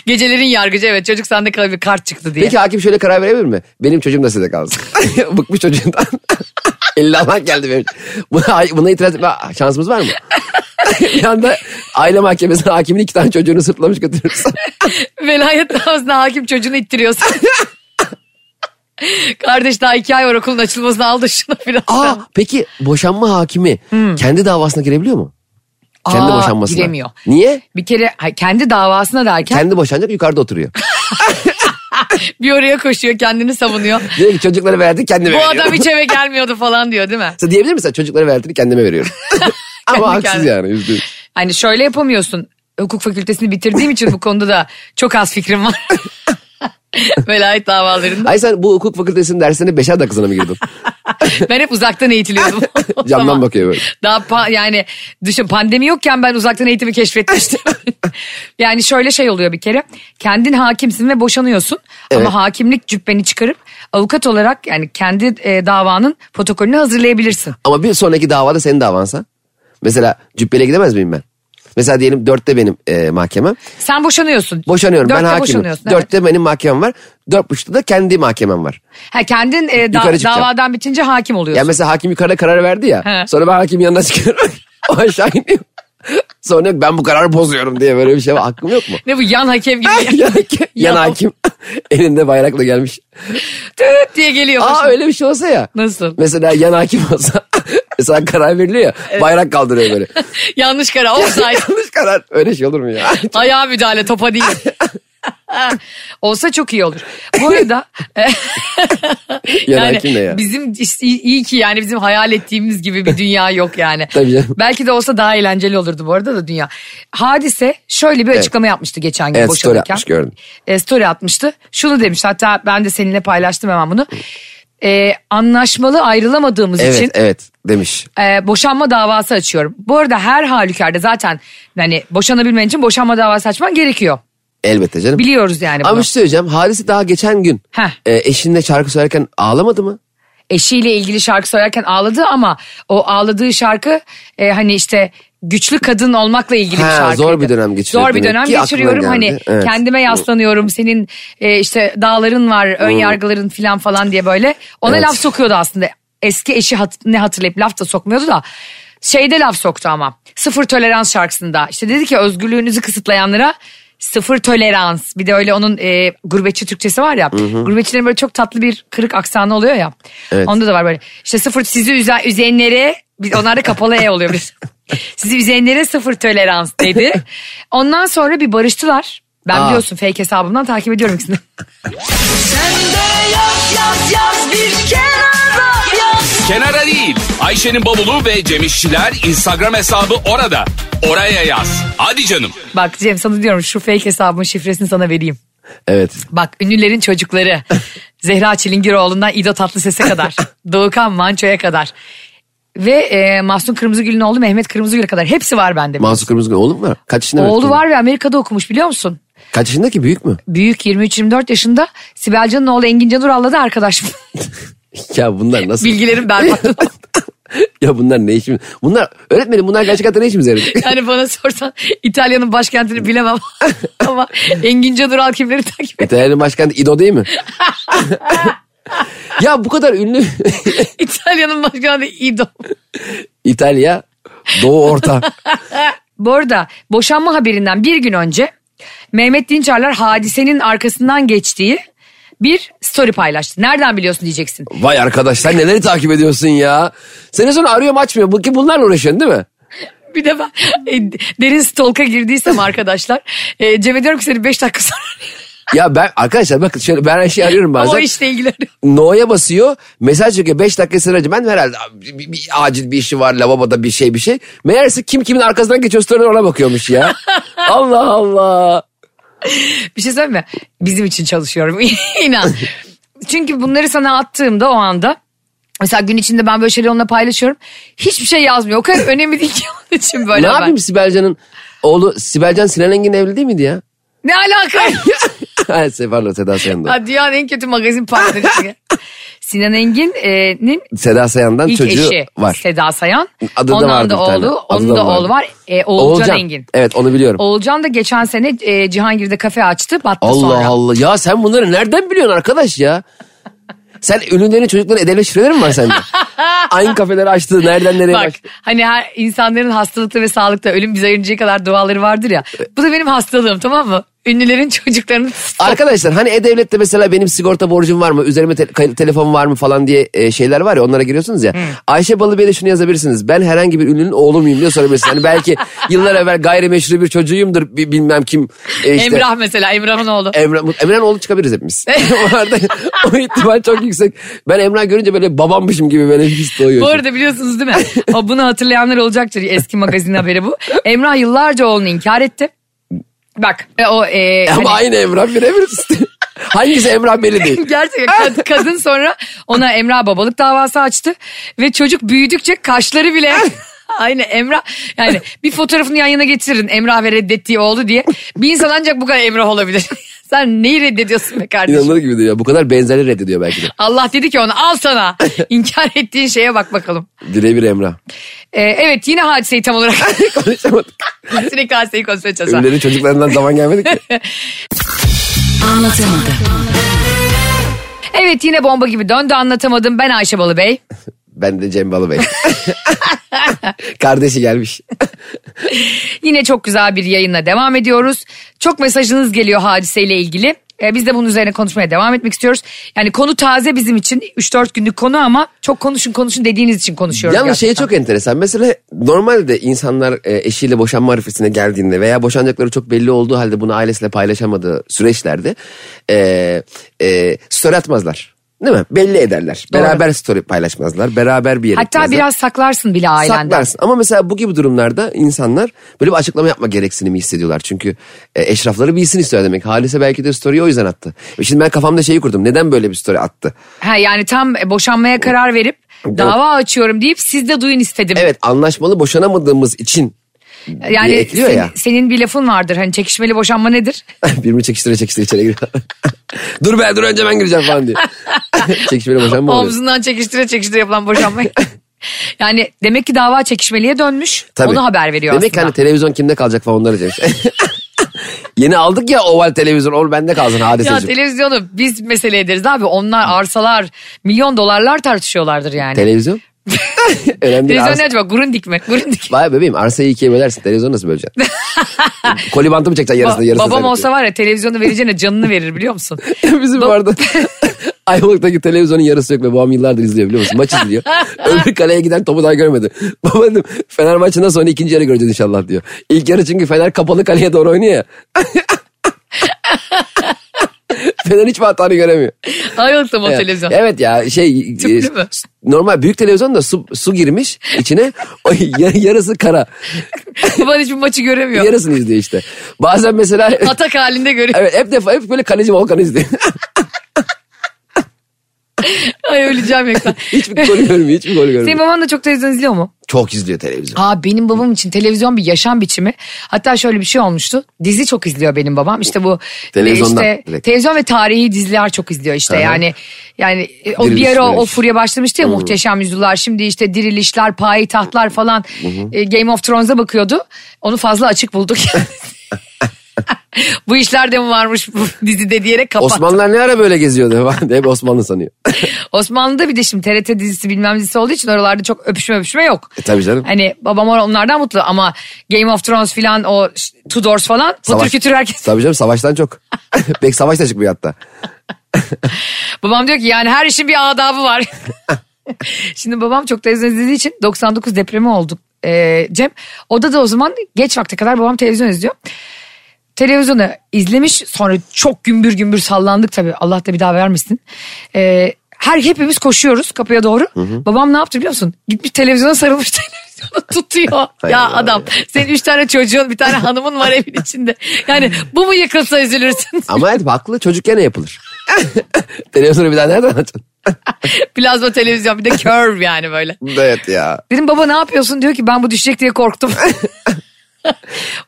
Speaker 3: Gecelerin yargıcı evet çocuk sende kalıyor bir kart çıktı diye.
Speaker 4: Ah! Peki hakim şöyle karar verebilir mi? Benim çocuğum da size kalsın. Bıkmış çocuğundan. Elli alan geldi benim. Buna, buna itiraz etme şansımız var mı? bir anda aile mahkemesine hakimin iki tane çocuğunu sırtlamış götürürsün.
Speaker 3: Velayet davasına hakim çocuğunu ittiriyorsun. Kardeş daha iki ay var okulun açılmasını al da şunu biraz.
Speaker 4: Aa
Speaker 3: sen. Hmm.
Speaker 4: peki boşanma hakimi kendi davasına girebiliyor mu? Kendi
Speaker 3: Aa,
Speaker 4: boşanmasına.
Speaker 3: Giremiyor.
Speaker 4: Niye?
Speaker 3: Bir kere ha, kendi davasına derken
Speaker 4: Kendi boşanacak yukarıda oturuyor.
Speaker 3: bir oraya koşuyor kendini savunuyor.
Speaker 4: Diyor ki çocukları verdi kendime
Speaker 3: Bu
Speaker 4: veriyorum.
Speaker 3: adam hiç eve gelmiyordu falan diyor değil mi?
Speaker 4: Sen diyebilir misin? Çocukları verdiğini kendime veriyorum. Ama
Speaker 3: Kendi
Speaker 4: haksız
Speaker 3: kendine.
Speaker 4: yani. Yüzde yüz.
Speaker 3: Hani şöyle yapamıyorsun. Hukuk fakültesini bitirdiğim için bu konuda da çok az fikrim var. Velayet davalarında.
Speaker 4: Ay sen bu hukuk fakültesinin derslerine beşer dakikasına mı girdin?
Speaker 3: Ben hep uzaktan eğitiliyordum. O
Speaker 4: Camdan
Speaker 3: zaman.
Speaker 4: bakıyor böyle.
Speaker 3: Daha pa- yani düşün pandemi yokken ben uzaktan eğitimi keşfetmiştim. yani şöyle şey oluyor bir kere. Kendin hakimsin ve boşanıyorsun. Ama hakimlik cübbeni çıkarıp avukat olarak yani kendi e, davanın protokolünü hazırlayabilirsin.
Speaker 4: Ama bir sonraki davada senin davansa. Mesela cübbele gidemez miyim ben? Mesela diyelim dörtte benim e, mahkemem.
Speaker 3: Sen boşanıyorsun.
Speaker 4: Boşanıyorum
Speaker 3: Dörtte
Speaker 4: ben hakimim.
Speaker 3: boşanıyorsun,
Speaker 4: Dörtte
Speaker 3: evet.
Speaker 4: benim mahkemem var. Dört buçukta da kendi mahkemem var.
Speaker 3: Ha, kendin e, da-
Speaker 4: Yukarı çıkacağım.
Speaker 3: davadan bitince hakim
Speaker 4: Ya
Speaker 3: oluyorsun.
Speaker 4: mesela hakim yukarıda karar verdi ya.
Speaker 3: He.
Speaker 4: Sonra ben hakim yanına çıkıyorum. o aşağı iniyor. Sonra yok ben bu kararı bozuyorum diye böyle bir şey var. Hakkım yok mu?
Speaker 3: Ne bu yan hakem gibi
Speaker 4: yan, hakim, yan
Speaker 3: Ya.
Speaker 4: hakim elinde bayrakla gelmiş.
Speaker 3: tüt diye geliyor.
Speaker 4: Aa
Speaker 3: başına.
Speaker 4: öyle bir şey olsa ya.
Speaker 3: Nasıl?
Speaker 4: Mesela yan hakim olsa mesela karar veriliyor ya bayrak kaldırıyor böyle.
Speaker 3: Yanlış karar. Offside.
Speaker 4: Yanlış karar. Öyle şey olur mu ya?
Speaker 3: Ayağa müdahale topa değil. Olsa çok iyi olur. Bu arada
Speaker 4: Yan hakim de ya.
Speaker 3: bizim işte iyi iyi ki yani bizim hayal ettiğimiz gibi bir dünya yok yani.
Speaker 4: Tabii canım.
Speaker 3: Belki de olsa daha eğlenceli olurdu bu arada da dünya. Hadise şöyle bir açıklama yapmıştı geçen gün
Speaker 4: Evet, story
Speaker 3: boşanırken.
Speaker 4: atmış, gördüm.
Speaker 3: E, story atmıştı. Şunu demiş hatta ben de seninle paylaştım hemen bunu. E, anlaşmalı ayrılamadığımız
Speaker 4: Evet
Speaker 3: için
Speaker 4: evet demiş.
Speaker 3: e, boşanma davası açıyorum. Bu arada her halükarda zaten hani boşanabilmen için boşanma davası açman gerekiyor.
Speaker 4: Elbette canım.
Speaker 3: Biliyoruz yani bunu.
Speaker 4: Ama bir şey söyleyeceğim. Hadise daha geçen gün
Speaker 3: Heh.
Speaker 4: e, eşinle şarkı söylerken ağlamadı mı?
Speaker 3: Eşiyle ilgili şarkı söylerken ağladı ama o ağladığı şarkı e, hani işte güçlü kadın olmakla ilgili bir
Speaker 4: Ha,
Speaker 3: şarkıydı.
Speaker 4: zor bir dönem geçiriyor
Speaker 3: Zor bir
Speaker 4: demek
Speaker 3: dönem
Speaker 4: ki, aklına
Speaker 3: geçiriyorum.
Speaker 4: geldi.
Speaker 3: Hani
Speaker 4: Evet.
Speaker 3: kendime yaslanıyorum. Senin e, işte dağların var, ön yargıların falan falan diye böyle. Ona
Speaker 4: Hmm. Evet.
Speaker 3: laf sokuyordu aslında. Eski eşi hat- ne hatırlayıp laf da sokmuyordu da. Şeyde laf soktu ama. Sıfır tolerans şarkısında. İşte dedi ki özgürlüğünüzü kısıtlayanlara sıfır tolerans. Bir de öyle onun e, gurbetçi Türkçesi var ya. Gurbetçilerin böyle çok tatlı bir kırık aksanı oluyor ya.
Speaker 4: Evet.
Speaker 3: Onda da var böyle. İşte sıfır sizi üzen, üzenlere biz onlar da kapalı e oluyor biz. Sizi üzenlere sıfır tolerans dedi. Ondan sonra bir barıştılar. Ben
Speaker 4: Aa.
Speaker 3: biliyorsun fake hesabımdan takip ediyorum ikisini.
Speaker 2: Kenara değil. Ayşe'nin bavulu ve Cem İşçiler Instagram hesabı orada. Oraya yaz. Hadi canım.
Speaker 3: Bak Cem sana diyorum şu fake hesabımın şifresini sana vereyim.
Speaker 4: Evet.
Speaker 3: Bak ünlülerin çocukları. Zehra Çilingiroğlu'ndan İdo Tatlıses'e kadar. Doğukan Manço'ya kadar. Ve e, Mahsun Kırmızıgül'ün oğlu Mehmet Kırmızıgül'e kadar. Hepsi var bende.
Speaker 4: Mansur Kırmızıgül oğlum var. Kaç yaşında?
Speaker 3: Oğlu
Speaker 4: öğretmeni?
Speaker 3: var ve Amerika'da okumuş biliyor musun?
Speaker 4: Kaç yaşında ki büyük mü?
Speaker 3: Büyük 23-24 yaşında Sibel Can'ın oğlu Engin Can Ural'la da arkadaş.
Speaker 4: Ya bunlar nasıl?
Speaker 3: Bilgilerim berbat.
Speaker 4: ya bunlar ne işimiz? Bunlar öğretmenim bunlar gerçekten ne işimize yarayacak?
Speaker 3: Yani bana sorsan İtalya'nın başkentini bilemem. Ama Engin Can Ural kimleri takip ediyor?
Speaker 4: İtalya'nın başkenti İdo değil mi? ya bu kadar ünlü
Speaker 3: İtalya'nın başkenti İdo.
Speaker 4: İtalya Doğu Orta.
Speaker 3: Bu arada boşanma haberinden bir gün önce Mehmet Dinçerler hadisenin arkasından geçtiği bir story paylaştı. Nereden biliyorsun diyeceksin.
Speaker 4: Vay arkadaş sen neleri takip ediyorsun ya. Seni sonra arıyorum açmıyor. Bu- Ki bunlarla uğraşıyorsun değil mi?
Speaker 3: Bir de ben e, derin stalk'a girdiysem arkadaşlar e, Cem'e diyorum ki seni 5 dakika sonra
Speaker 4: Ya ben arkadaşlar bakın şöyle ben her şeyi arıyorum
Speaker 3: ama o
Speaker 4: bazen.
Speaker 3: işle ilgileniyorum.
Speaker 4: No'ya basıyor. Mesaj çekiyor 5 dakika sonra ben herhalde bir, bir- bir acil bir işi var lavaboda bir şey bir şey. Meğerse kim kimin arkasından geçiyor sonra ona bakıyormuş ya. Allah Allah.
Speaker 3: Bir şey söyleyeyim mi? Bizim için çalışıyorum inan. Çünkü bunları sana attığımda o anda mesela gün içinde ben böyle şeyleri onunla paylaşıyorum. Hiçbir şey yazmıyor. O kadar önemli değil ki onun için böyle
Speaker 4: ne
Speaker 3: ben.
Speaker 4: yapayım Sibelcan'ın oğlu Sibelcan Sinan Engin'in evli değil miydi ya?
Speaker 3: Ne alaka?
Speaker 4: Ha, se- Pardon Seda Sayan'dan.
Speaker 3: Ha, dünyanın en kötü magazin partneri. Sinan Engin'in
Speaker 4: Seda Sayan'dan
Speaker 3: ilk
Speaker 4: çocuğu
Speaker 3: eşi
Speaker 4: var.
Speaker 3: Seda Sayan.
Speaker 4: Adı da
Speaker 3: Ondan
Speaker 4: vardı
Speaker 3: da
Speaker 4: bir tane.
Speaker 3: oğlu, onun
Speaker 4: Adı da
Speaker 3: da
Speaker 4: vardı.
Speaker 3: oğlu var. E, Oğulcan, Engin.
Speaker 4: Evet onu biliyorum.
Speaker 3: Oğulcan da geçen sene e, Cihangir'de kafe açtı, battı
Speaker 4: Allah
Speaker 3: sonra.
Speaker 4: Allah ya sen bunları nereden biliyorsun arkadaş ya? Sen ünlülerin çocukların edebiyat şifreleri mi var sende? Aynı kafeleri açtı nereden nereye
Speaker 3: Bak
Speaker 4: bak.
Speaker 3: hani her insanların hastalıkta ve sağlıkta ölüm bizi ayırıncaya kadar duaları vardır ya. Bu da benim hastalığım tamam mı? Ünlülerin çocuklarını
Speaker 4: Arkadaşlar hani E-Devlet'te mesela benim sigorta borcum var mı? Üzerime te- kay- telefon var mı falan diye e, şeyler var ya onlara giriyorsunuz
Speaker 3: Hmm.
Speaker 4: ya. Ayşe Balıbey'e de şunu yazabilirsiniz. Ben herhangi bir ünlünün oğlu muyum diye sorabilirsiniz. Hani belki yıllar evvel gayrimeşru bir çocuğuyumdur bi- bilmem kim. e, işte,
Speaker 3: Emrah mesela Emrah'ın oğlu.
Speaker 4: Emre, Emre'nin oğlu çıkabiliriz hepimiz. o, arada, o ihtimal çok yüksek. Ben Emre görünce böyle babammışım gibi böyle his doğuyor.
Speaker 3: Bu arada biliyorsunuz değil mi? O bunu hatırlayanlar olacaktır. Eski magazin haberi bu. Emrah yıllarca oğlunu inkar etti. Bak e, o e,
Speaker 4: Ama
Speaker 3: hani-
Speaker 4: aynı Emrah birebir. Hangisi Emrah belli değil.
Speaker 3: Gerçekten kad- kadın sonra ona Emrah babalık davası açtı ve çocuk büyüdükçe kaşları bile aynı Emrah yani bir fotoğrafını yan yana getirin Emrah ve reddettiği oldu diye bir insan ancak bu kadar Emrah olabilir. Sen neyi reddediyorsun be kardeşim?
Speaker 4: İnanılır gibi diyor. Bu kadar benzerleri reddediyor belki de.
Speaker 3: Allah dedi ki ona al sana inkar ettiğin şeye bak bakalım.
Speaker 4: Birebir Emrah.
Speaker 3: Ee, evet yine hadiseyi tam olarak
Speaker 4: Konuşamadık.
Speaker 3: sürekli hadiseyi konuşmaya çalışan.
Speaker 4: Ünlülerin çocuklarından zaman gelmedi ki.
Speaker 3: Evet yine bomba gibi döndü anlatamadım ben Ayşe Balıbey.
Speaker 4: Ben de Cem Balıbey. Kardeşi gelmiş.
Speaker 3: Yine çok güzel bir yayınla devam ediyoruz. Çok mesajınız geliyor hadiseyle ilgili. Ee, Biz de bunun üzerine konuşmaya devam etmek istiyoruz. Yani konu taze bizim için. 3-4 günlük konu ama çok konuşun konuşun dediğiniz için konuşuyoruz.
Speaker 4: Yalnız şey
Speaker 3: gerçekten.
Speaker 4: çok enteresan. Mesela normalde insanlar e, eşiyle boşanma arifesine geldiğinde veya boşanacakları çok belli olduğu halde bunu ailesiyle paylaşamadığı süreçlerde e, e, story atmazlar. Değil mi? Belli ederler.
Speaker 3: Doğru.
Speaker 4: Beraber story paylaşmazlar. Beraber bir yere
Speaker 3: Hatta
Speaker 4: gitmezler.
Speaker 3: biraz saklarsın bile ailenden.
Speaker 4: Saklarsın. Ama mesela bu gibi durumlarda insanlar böyle bir açıklama yapma gereksinimi hissediyorlar. Çünkü e, eşrafları bilsin istiyor demek. Halise belki de story'i o yüzden attı. E Şimdi ben kafamda şeyi kurdum. Neden böyle bir story attı?
Speaker 3: Ha, yani tam boşanmaya karar verip dava açıyorum deyip siz de duyun istedim.
Speaker 4: Evet anlaşmalı boşanamadığımız için
Speaker 3: yani
Speaker 4: diye ekliyor
Speaker 3: sen-
Speaker 4: ya.
Speaker 3: senin bir lafın vardır hani çekişmeli boşanma nedir?
Speaker 4: Birbirini çekiştire çekiştire içeri giriyor. dur be dur önce ben gireceğim falan diye. Çekişmeyle boşanma oluyor.
Speaker 3: Omzundan çekiştire çekiştire yapılan boşanma. yani demek ki dava çekişmeliye dönmüş.
Speaker 4: Tabii.
Speaker 3: Onu haber veriyor
Speaker 4: Demek ki
Speaker 3: aslında.
Speaker 4: hani televizyon kimde kalacak falan onları demiş. Yeni aldık ya oval televizyon onu bende kalsın
Speaker 3: Ya
Speaker 4: hadiseciğim.
Speaker 3: televizyonu biz mesele ederiz abi. Onlar arsalar, milyon dolarlar tartışıyorlardır yani.
Speaker 4: televizyon? Önemli değil.
Speaker 3: Televizyon
Speaker 4: arsa-
Speaker 3: ne acaba? Grundig mi? Grundig.
Speaker 4: Vay bebeğim arsayı ikiye bölersin. Televizyonu nasıl böleceksin? Kolibantı mı çekeceksin yarısını
Speaker 3: Ba-
Speaker 4: yarısını?
Speaker 3: babam
Speaker 4: sen-
Speaker 3: olsa var ya televizyonu vereceğine canını verir biliyor musun?
Speaker 4: Bizim bu arada Ayvalık'taki televizyonun yarısı yok ve babam yıllardır izliyor biliyor musun? Maç izliyor. Öbür kaleye giden topu daha görmedi. Baba dedim Fener maçından sonra ikinci yarı göreceğiz inşallah diyor. İlk yarı çünkü Fener kapalı kaleye doğru oynuyor ya. Fener hiçbir hatanı göremiyor.
Speaker 3: Ayrıldım o
Speaker 4: Evet.
Speaker 3: televizyon.
Speaker 4: Evet ya şey
Speaker 3: Tüplü
Speaker 4: e,
Speaker 3: mü?
Speaker 4: normal büyük televizyon da su, su girmiş içine o yar- yarısı kara
Speaker 3: Baban hiçbir maçı göremiyor.
Speaker 4: yarısını izliyor işte. Bazen mesela
Speaker 3: Atak halinde görüyor.
Speaker 4: evet hep defa hep böyle kaleci Volkan izliyor.
Speaker 3: Ay öleceğim yoksa.
Speaker 4: hiçbir gol görmüyor hiçbir gol görmüyor.
Speaker 3: Senin baban da çok televizyon izliyor mu?
Speaker 4: Çok izliyor televizyon.
Speaker 3: Aa benim babam için televizyon bir yaşam biçimi. Hatta şöyle bir şey olmuştu. Dizi çok izliyor benim babam. İşte bu
Speaker 4: Televizyondan
Speaker 3: işte
Speaker 4: direkt.
Speaker 3: televizyon ve tarihi diziler çok izliyor işte.
Speaker 4: Aha.
Speaker 3: Yani yani e, o bir
Speaker 4: Diriliş,
Speaker 3: ara o, o
Speaker 4: diriliş.
Speaker 3: furya başlamıştı ya muhteşem yüzyıllar. Şimdi işte dirilişler, payitahtlar falan e, Game of Thrones'a bakıyordu. Onu fazla açık bulduk. bu işler de mi varmış bu dizide diyerek kapattı.
Speaker 4: Osmanlılar ne ara böyle geziyordu? Hep Osmanlı sanıyor.
Speaker 3: Osmanlı'da bir de şimdi TRT dizisi bilmem dizisi olduğu için oralarda çok öpüşme öpüşme yok.
Speaker 4: E, tabii canım.
Speaker 3: Hani babam or- onlardan mutlu ama Game of Thrones filan o ş- Tudors falan patır kütür herkes.
Speaker 4: Tabii canım savaştan çok. Pek savaş da çıkmıyor hatta.
Speaker 3: babam diyor ki yani her işin bir adabı var. Şimdi babam çok televizyon izlediği için 99 depremi olduk ee, Cem. Oda da o zaman geç vakte kadar babam televizyon izliyor. Televizyonu izlemiş sonra çok gümbür gümbür sallandık tabii Allah da bir daha vermesin. Ee, her hepimiz koşuyoruz kapıya doğru. Babam ne yaptı biliyor musun? Gitmiş televizyona sarılmış televizyonu tutuyor.
Speaker 4: Hay
Speaker 3: ya
Speaker 4: Allah
Speaker 3: adam senin üç tane çocuğun bir tane hanımın var evin içinde. Yani bu mu yıkılsa üzülürsün.
Speaker 4: Ama evet haklı çocuk gene yapılır. Televizyonu bir daha nereden açın?
Speaker 3: Plazma televizyon bir de curve yani böyle.
Speaker 4: Evet ya.
Speaker 3: Dedim baba ne yapıyorsun diyor ki ben bu düşecek diye korktum.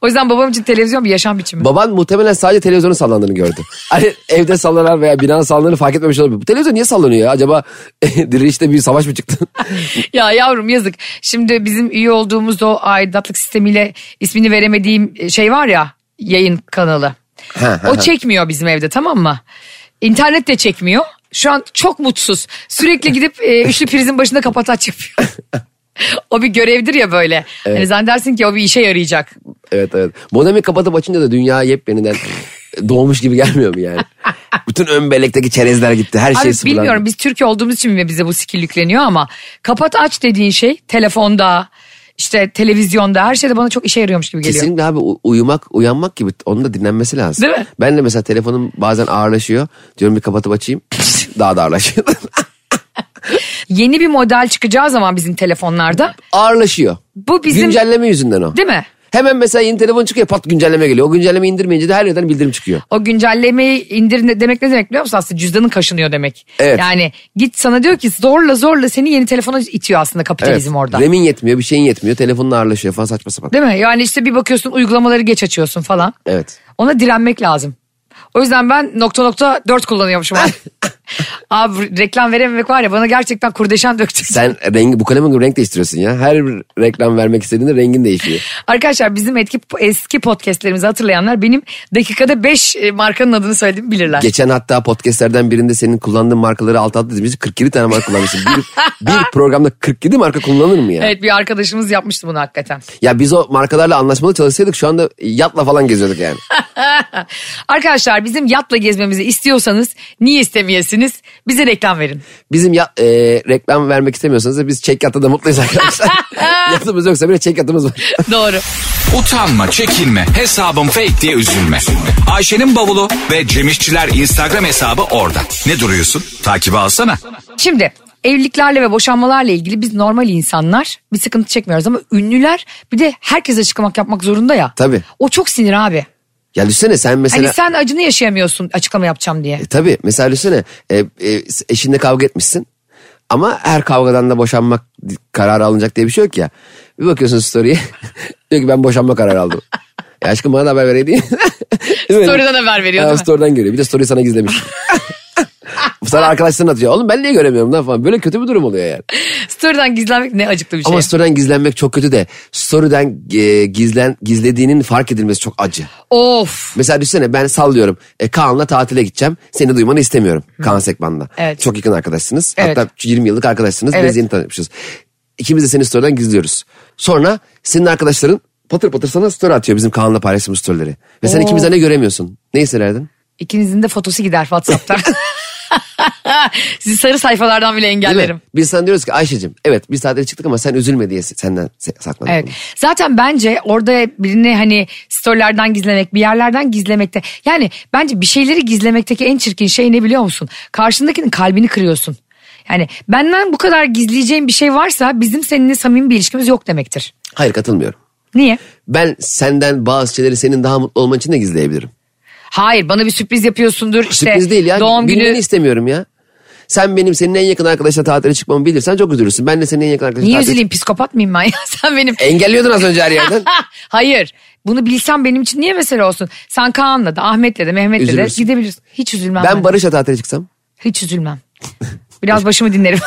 Speaker 3: o yüzden babam için televizyon bir yaşam biçimi.
Speaker 4: Baban muhtemelen sadece televizyonun sallandığını gördü. Hani evde sallanan veya binanın sallandığını fark etmemiş olabilir. Bu televizyon niye sallanıyor ya? Acaba dirilişte bir savaş mı çıktı?
Speaker 3: ya yavrum yazık. Şimdi bizim üye olduğumuz o aidatlık sistemiyle ismini veremediğim şey var ya yayın kanalı. o çekmiyor bizim evde tamam mı? İnternet de çekmiyor. Şu an çok mutsuz. Sürekli gidip e, üçlü prizin başında kapataç yapıyor. o bir görevdir ya böyle. Hani zannedersin ki o bir işe yarayacak.
Speaker 4: evet evet. Modemi kapatıp açınca da dünya yepyeniden doğmuş gibi gelmiyor mu yani? Bütün ön bellekteki çerezler gitti. Her şey
Speaker 3: Abi
Speaker 4: sıfırlandı.
Speaker 3: bilmiyorum biz Türk olduğumuz için mi bize bu skill yükleniyor ama kapat aç dediğin şey telefonda işte televizyonda her şeyde bana çok işe yarıyormuş gibi geliyor.
Speaker 4: Kesinlikle abi u- uyumak uyanmak gibi onun da dinlenmesi lazım.
Speaker 3: Değil mi?
Speaker 4: Ben de mesela telefonum bazen ağırlaşıyor. Diyorum bir kapatıp açayım. Daha da ağırlaşıyor.
Speaker 3: Yeni bir model çıkacağı zaman bizim telefonlarda
Speaker 4: ağırlaşıyor.
Speaker 3: bu bizim
Speaker 4: Güncelleme yüzünden o.
Speaker 3: değil mi?
Speaker 4: Hemen mesela yeni telefon çıkıyor pat güncelleme geliyor. O güncelleme indirmeyince de her yerden bildirim çıkıyor.
Speaker 3: O güncellemeyi indir ne- demek ne demek biliyor musun? Aslında cüzdanın kaşınıyor demek.
Speaker 4: Evet.
Speaker 3: Yani git sana diyor ki zorla zorla seni yeni telefona itiyor aslında kapitalizm orada.
Speaker 4: Remin yetmiyor bir şeyin yetmiyor. Telefonun ağırlaşıyor falan saçma sapan.
Speaker 3: Değil mi? Yani işte bir bakıyorsun uygulamaları geç açıyorsun falan.
Speaker 4: Evet.
Speaker 3: Ona direnmek lazım. O yüzden ben nokta nokta dört kullanıyormuşum abi. abi reklam verememek var ya bana gerçekten kurdeşen döktü.
Speaker 4: Sen rengi bu kaleme göre renk değiştiriyorsun ya. Her bir reklam vermek istediğinde rengin değişiyor.
Speaker 3: Arkadaşlar bizim etki, eski podcastlerimizi hatırlayanlar benim dakikada beş e, markanın adını söylediğimi bilirler.
Speaker 4: Geçen hatta podcastlerden birinde senin kullandığın markaları alt alta dizmişiz. 47 tane marka kullanmışsın. Bir, bir programda 47 marka kullanılır mı ya?
Speaker 3: Evet bir arkadaşımız yapmıştı bunu hakikaten.
Speaker 4: Ya biz o markalarla anlaşmalı çalışsaydık şu anda yatla falan geziyorduk yani.
Speaker 3: Arkadaşlar bizim yatla gezmemizi istiyorsanız niye istemeyesiniz? Bize reklam verin.
Speaker 4: Bizim ya, e, reklam vermek istemiyorsanız da biz çekyatta da mutluyuz arkadaşlar. Yatımız yoksa bile çekyatımız var.
Speaker 3: Doğru.
Speaker 2: Utanma, çekinme, hesabım fake diye üzülme. Ayşe'nin bavulu ve Cemişçiler Instagram hesabı orada. Ne duruyorsun? Takibi alsana.
Speaker 3: Şimdi evliliklerle ve boşanmalarla ilgili biz normal insanlar bir sıkıntı çekmiyoruz ama ünlüler bir de herkes açıklamak yapmak zorunda ya.
Speaker 4: Tabii.
Speaker 3: O çok sinir abi.
Speaker 4: Ya düşünsene sen mesela...
Speaker 3: Hani sen acını yaşayamıyorsun açıklama yapacağım diye.
Speaker 4: E, tabii mesela düşünsene e, e, eşinle kavga etmişsin. Ama her kavgadan da boşanmak kararı alınacak diye bir şey yok ya. Bir bakıyorsun story'e diyor ki ben boşanma kararı aldım. E aşkım bana da haber vereydi.
Speaker 3: Story'den haber veriyor değil mi?
Speaker 4: Story'den görüyor. Bir de story sana gizlemiş. sana arkadaşlarına atıyor. Oğlum ben niye göremiyorum lan falan. Böyle kötü bir durum oluyor yani.
Speaker 3: Story'den gizlenmek ne acıklı bir şey.
Speaker 4: Ama story'den gizlenmek çok kötü de story'den e, gizlen gizlediğinin fark edilmesi çok acı.
Speaker 3: of.
Speaker 4: Mesela düşünsene ben sallıyorum. E, Kaan'la tatile gideceğim. Seni duymanı istemiyorum. Kaan Sekman'la.
Speaker 3: Evet.
Speaker 4: Çok yakın arkadaşsınız.
Speaker 3: Evet.
Speaker 4: Hatta 20 yıllık arkadaşsınız.
Speaker 3: Evet.
Speaker 4: Biz yeni tanışmışız. İkimiz de seni story'den gizliyoruz. Sonra senin arkadaşların patır patır sana story atıyor bizim Kaan'la paylaştığımız storyleri. Ve sen
Speaker 3: Oo.
Speaker 4: ikimizden de göremiyorsun. Ne hissederdin?
Speaker 3: İkinizin de fotosu gider Whatsapp'tan. Sizi sarı sayfalardan bile
Speaker 4: Değil mi?
Speaker 3: engellerim.
Speaker 4: Biz sana diyoruz ki Ayşe'cim evet biz tatile çıktık ama sen üzülme diye se- senden se- sakladık.
Speaker 3: Evet.
Speaker 4: bunu.
Speaker 3: Zaten bence orada birini hani storylerden gizlemek, bir yerlerden gizlemekte. Yani bence bir şeyleri gizlemekteki en çirkin şey ne biliyor musun? Karşındakinin kalbini kırıyorsun. Yani benden bu kadar gizleyeceğim bir şey varsa bizim seninle samimi bir ilişkimiz yok demektir.
Speaker 4: Hayır katılmıyorum.
Speaker 3: Niye?
Speaker 4: Ben senden bazı şeyleri senin daha mutlu olman için de gizleyebilirim.
Speaker 3: Hayır bana bir sürpriz yapıyorsundur işte.
Speaker 4: Sürpriz değil ya.
Speaker 3: Doğum
Speaker 4: Bilmeni
Speaker 3: günü.
Speaker 4: istemiyorum ya. Sen benim senin en yakın arkadaşla tatile çıkmamı bilirsen çok üzülürsün. Ben de senin en yakın arkadaşla
Speaker 3: Niye
Speaker 4: tatile
Speaker 3: üzüleyim psikopat mıyım ben ya? Sen benim
Speaker 4: Engelliyordun az önce her yerden.
Speaker 3: Hayır. Bunu bilsem benim için niye mesele olsun? Sen Kaan'la da Ahmet'le de Mehmet'le de
Speaker 4: Üzülürsün.
Speaker 3: gidebilirsin. Hiç üzülmem.
Speaker 4: ben Barış'la tatile çıksam.
Speaker 3: Hiç üzülmem. Biraz başımı dinlerim.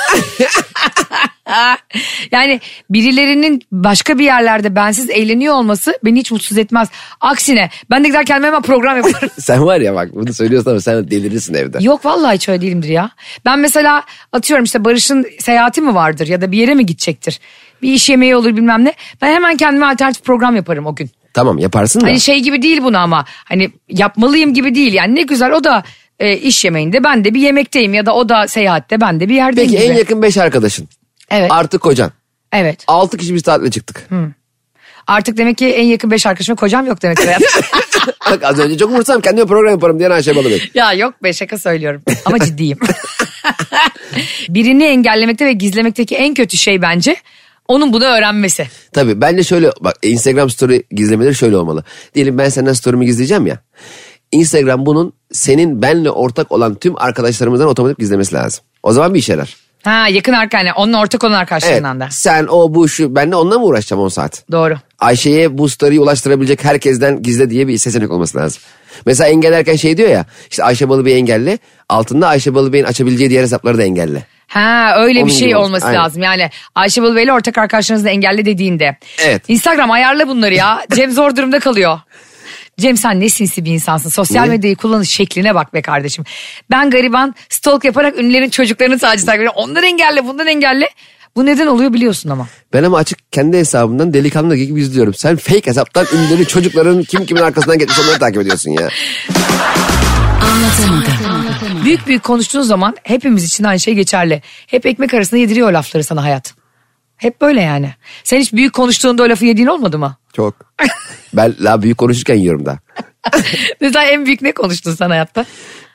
Speaker 3: yani birilerinin başka bir yerlerde bensiz eğleniyor olması beni hiç mutsuz etmez. Aksine ben de gider kendime hemen program yaparım.
Speaker 4: Sen var ya bak bunu söylüyorsun ama sen delirirsin evde.
Speaker 3: Yok vallahi hiç öyle değilimdir ya. Ben mesela atıyorum işte Barış'ın seyahati mi vardır ya da bir yere mi gidecektir? Bir iş yemeği olur bilmem ne. Ben hemen kendime alternatif program yaparım o gün.
Speaker 4: Tamam yaparsın da.
Speaker 3: Hani şey gibi değil bunu ama hani yapmalıyım gibi değil yani ne güzel o da e, e, iş yemeğinde ben de bir yemekteyim ya da o da seyahatte ben de bir yerdeyim
Speaker 4: Peki
Speaker 3: gibi.
Speaker 4: en yakın 5 arkadaşın.
Speaker 3: Evet.
Speaker 4: Artık kocan.
Speaker 3: evet.
Speaker 4: 6 kişi biz tatile çıktık.
Speaker 3: Artık demek ki en yakın beş arkadaşıma kocam yok demek ki hayatta.
Speaker 4: Bak az önce çok umursam kendime program yaparım diyen Ayşe Balıbey.
Speaker 3: ya yok be şaka söylüyorum ama ciddiyim. Birini engellemekte ve gizlemekteki en kötü şey bence onun bunu öğrenmesi.
Speaker 4: Tabii ben de şöyle bak Instagram story gizlemeleri şöyle olmalı. Diyelim ben senden story'mi gizleyeceğim ya. Instagram bunun senin benle ortak olan tüm arkadaşlarımızdan otomatik gizlemesi lazım. O zaman bir işe yarar.
Speaker 3: Ha yakın arkadaşlar onun ortak olan
Speaker 4: Evet.
Speaker 3: arkadaşlarından da.
Speaker 4: Sen o bu şu benle onunla mı uğraşacağım 10 saat?
Speaker 3: Doğru.
Speaker 4: Ayşe'ye bu story'i ulaştırabilecek herkesten gizle diye bir seçenek olması lazım. Mesela engellerken şey diyor ya işte Ayşe Balıbey'i engelle altında Ayşe Balıbey'in açabileceği diğer hesapları da engelle.
Speaker 3: Ha öyle
Speaker 4: Onun
Speaker 3: bir şey
Speaker 4: gibi olsun,
Speaker 3: olması
Speaker 4: aynen.
Speaker 3: lazım. Yani Ayşe Balıbey'le ortak arkadaşlarınızı engelle dediğinde.
Speaker 4: Evet.
Speaker 3: Instagram ayarla bunları ya. Cem zor durumda kalıyor. Cem sen ne sinsi bir insansın. Sosyal
Speaker 4: Niye?
Speaker 3: medyayı kullanış şekline bak be kardeşim. Ben gariban stalk yaparak ünlülerin çocuklarını sadece takip ediyorum. Onları engelle bundan engelle. Bu neden oluyor biliyorsun ama.
Speaker 4: Ben ama açık kendi hesabımdan delikanlı gibi izliyorum. Sen fake hesaptan ünlüleri çocukların kim kimin arkasından gitmiş onları takip ediyorsun ya.
Speaker 3: Büyük büyük konuştuğun zaman hepimiz için aynı şey geçerli. Hep ekmek arasında yediriyor o lafları sana hayat. Hep böyle yani. Sen hiç büyük konuştuğunda o lafı yediğin olmadı mı?
Speaker 4: Çok. Ben la büyük konuşurken yiyorum da.
Speaker 3: Mesela en büyük ne konuştun sen hayatta?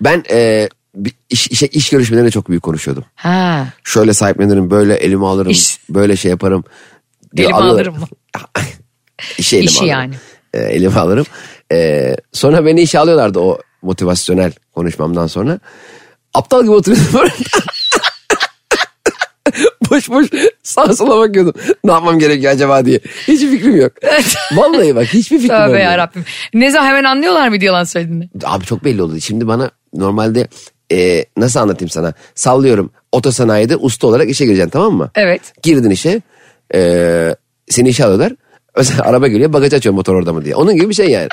Speaker 4: Ben e, bir iş, işe- iş görüşmelerinde çok büyük konuşuyordum.
Speaker 3: Ha.
Speaker 4: Şöyle sahiplenirim, böyle elimi alırım,
Speaker 3: İş.
Speaker 4: böyle şey yaparım.
Speaker 3: Elimi
Speaker 4: Alır-
Speaker 3: alırım mı?
Speaker 4: İşi elime
Speaker 3: İşi
Speaker 4: alırım.
Speaker 3: yani.
Speaker 4: E, elime alırım. E, sonra beni işe alıyorlardı o motivasyonel konuşmamdan sonra. Aptal gibi oturuyordum orada. boş boş sağa sola bakıyordum. Ne yapmam gerekiyor acaba diye. Hiçbir fikrim yok. Vallahi bak hiçbir fikrim yok.
Speaker 3: Tövbe yarabbim. Ne zaman hemen anlıyorlar mı yalan söylediğini?
Speaker 4: Abi çok belli oldu. Şimdi bana normalde e, nasıl anlatayım sana? Sallıyorum otosanayide usta olarak işe gireceksin tamam mı?
Speaker 3: Evet.
Speaker 4: Girdin işe e, seni işe alıyorlar. Mesela araba geliyor bagaj açıyor motor orada mı diye. Onun gibi bir şey yani.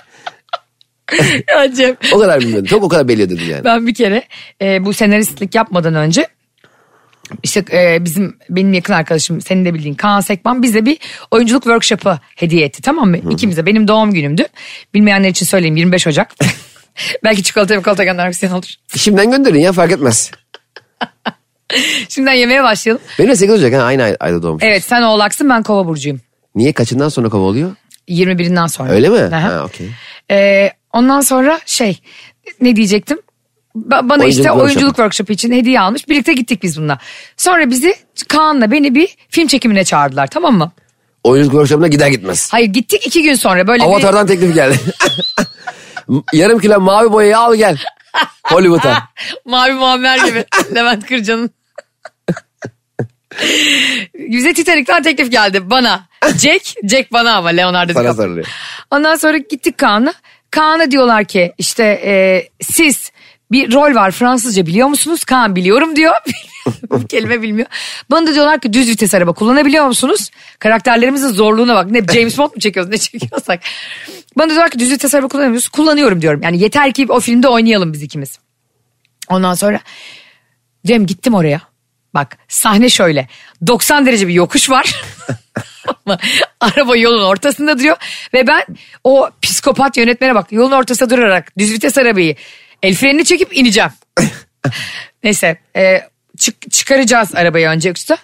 Speaker 3: Ya Cem
Speaker 4: O kadar bilmiyordum. Çok o kadar belli ediyordum yani.
Speaker 3: ben bir kere e, bu senaristlik yapmadan önce işte e, bizim benim yakın arkadaşım senin de bildiğin Kaan Sekman bize bir oyunculuk workshop'ı hediye etti tamam mı? İkimize benim doğum günümdü. Bilmeyenler için söyleyeyim 25 Ocak. Belki çikolata ve kolata göndermek isteyen olur.
Speaker 4: Şimdiden gönderin ya fark etmez.
Speaker 3: Şimdiden yemeğe başlayalım.
Speaker 4: Benim de 8 Ocak ha, aynı ay- ayda doğmuş.
Speaker 3: Evet sen oğlaksın ben kova burcuyum.
Speaker 4: Niye kaçından sonra kova oluyor?
Speaker 3: 21'inden sonra.
Speaker 4: Öyle mi?
Speaker 3: Aha.
Speaker 4: Ha, okey.
Speaker 3: Ee, ondan sonra şey ne diyecektim? Ba- bana
Speaker 4: Oyunculuk
Speaker 3: işte
Speaker 4: workshop'u.
Speaker 3: oyunculuk workshop'u için hediye almış. Birlikte gittik biz bununla. Sonra bizi Kaan'la beni bir film çekimine çağırdılar tamam mı?
Speaker 4: Oyunculuk workshop'una gider gitmez.
Speaker 3: Hayır gittik iki gün sonra böyle bir...
Speaker 4: Avatar'dan teklif geldi. Yarım kilo mavi boyayı al gel. Hollywood'a.
Speaker 3: Mavi muammer gibi Levent Kırcan'ın. Bize Titanic'ten teklif geldi bana. Jack, Jack bana ama Leonardo
Speaker 4: Sana
Speaker 3: DiCaprio.
Speaker 4: sarılıyor.
Speaker 3: Ondan sonra gittik Kaan'a. Kaan'a diyorlar ki işte e, siz bir rol var Fransızca biliyor musunuz? Kaan biliyorum diyor. Bu kelime bilmiyor. Bana da diyorlar ki düz vites araba kullanabiliyor musunuz? Karakterlerimizin zorluğuna bak. Ne James Bond mu çekiyoruz ne çekiyorsak. Bana da diyorlar ki düz vites araba kullanamıyoruz. Kullanıyorum diyorum. Yani yeter ki o filmde oynayalım biz ikimiz. Ondan sonra Cem gittim oraya. Bak sahne şöyle. 90 derece bir yokuş var. Ama Araba yolun ortasında duruyor. Ve ben o psikopat yönetmene bak yolun ortasında durarak düz vites arabayı el frenini çekip ineceğim. Neyse e, çık, çıkaracağız arabayı önce yoksa.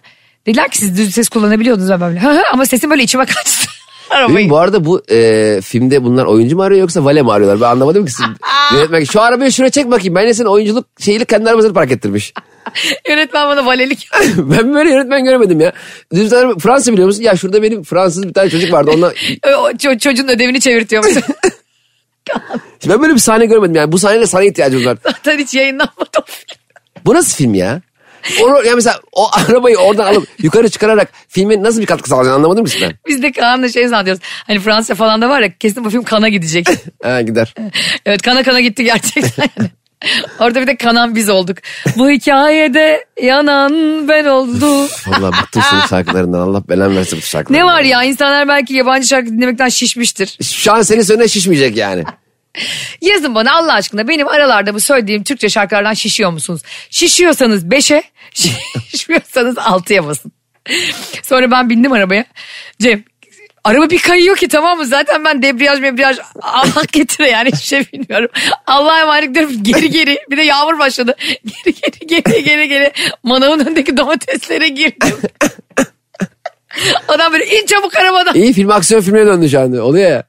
Speaker 3: Dediler ki siz düz vites kullanabiliyordunuz. Ben böyle, "Hı hı," ama sesim böyle içime kaçtı.
Speaker 4: Değil mi?
Speaker 3: arabayı.
Speaker 4: Bu arada bu e, filmde bunlar oyuncu mu arıyor yoksa vale mi arıyorlar? Ben anlamadım ki. Siz, yönetmen, şu arabayı şuraya çek bakayım. Ben de senin oyunculuk şeyiyle kendi arabasını park ettirmiş.
Speaker 3: Yönetmen bana valelik
Speaker 4: ben böyle yönetmen göremedim ya. Düz tane Fransa biliyor musun? Ya şurada benim Fransız bir tane çocuk vardı. Onunla...
Speaker 3: O ço- çocuğun ödevini çevirtiyormuş.
Speaker 4: ben böyle bir sahne görmedim yani. Bu sahneyle sana ihtiyacımız var.
Speaker 3: Zaten hiç yayınlanmadı o film.
Speaker 4: Bu nasıl film ya? Onu, ya mesela o arabayı oradan alıp yukarı çıkararak filme nasıl bir katkı sağlayacağını anlamadım ki ben.
Speaker 3: Biz de Kaan'la şey zannediyoruz. Hani Fransa falan da var ya kesin bu film kana gidecek.
Speaker 4: Ha, gider.
Speaker 3: evet kana kana gitti gerçekten. yani. Orada bir de kanan biz olduk. Bu hikayede yanan ben oldum.
Speaker 4: Vallahi bıktım senin şarkılarından. Allah belanı versin bu şarkılarından.
Speaker 3: ne var ya insanlar belki yabancı şarkı dinlemekten şişmiştir.
Speaker 4: Şu an senin söyle şişmeyecek yani.
Speaker 3: Yazın bana Allah aşkına benim aralarda bu söylediğim Türkçe şarkılardan şişiyor musunuz? Şişiyorsanız 5'e, şişmiyorsanız 6'ya basın. Sonra ben bindim arabaya. Cem Araba bir kayıyor ki tamam mı? Zaten ben debriyaj mebriyaj Allah getire yani hiçbir şey bilmiyorum. Allah'a emanet diyorum geri geri. Bir de yağmur başladı. Geri geri geri geri geri. Manavın önündeki domateslere girdim. Adam böyle in çabuk arabadan.
Speaker 4: İyi film aksiyon filmine döndü şu anda. Oluyor ya.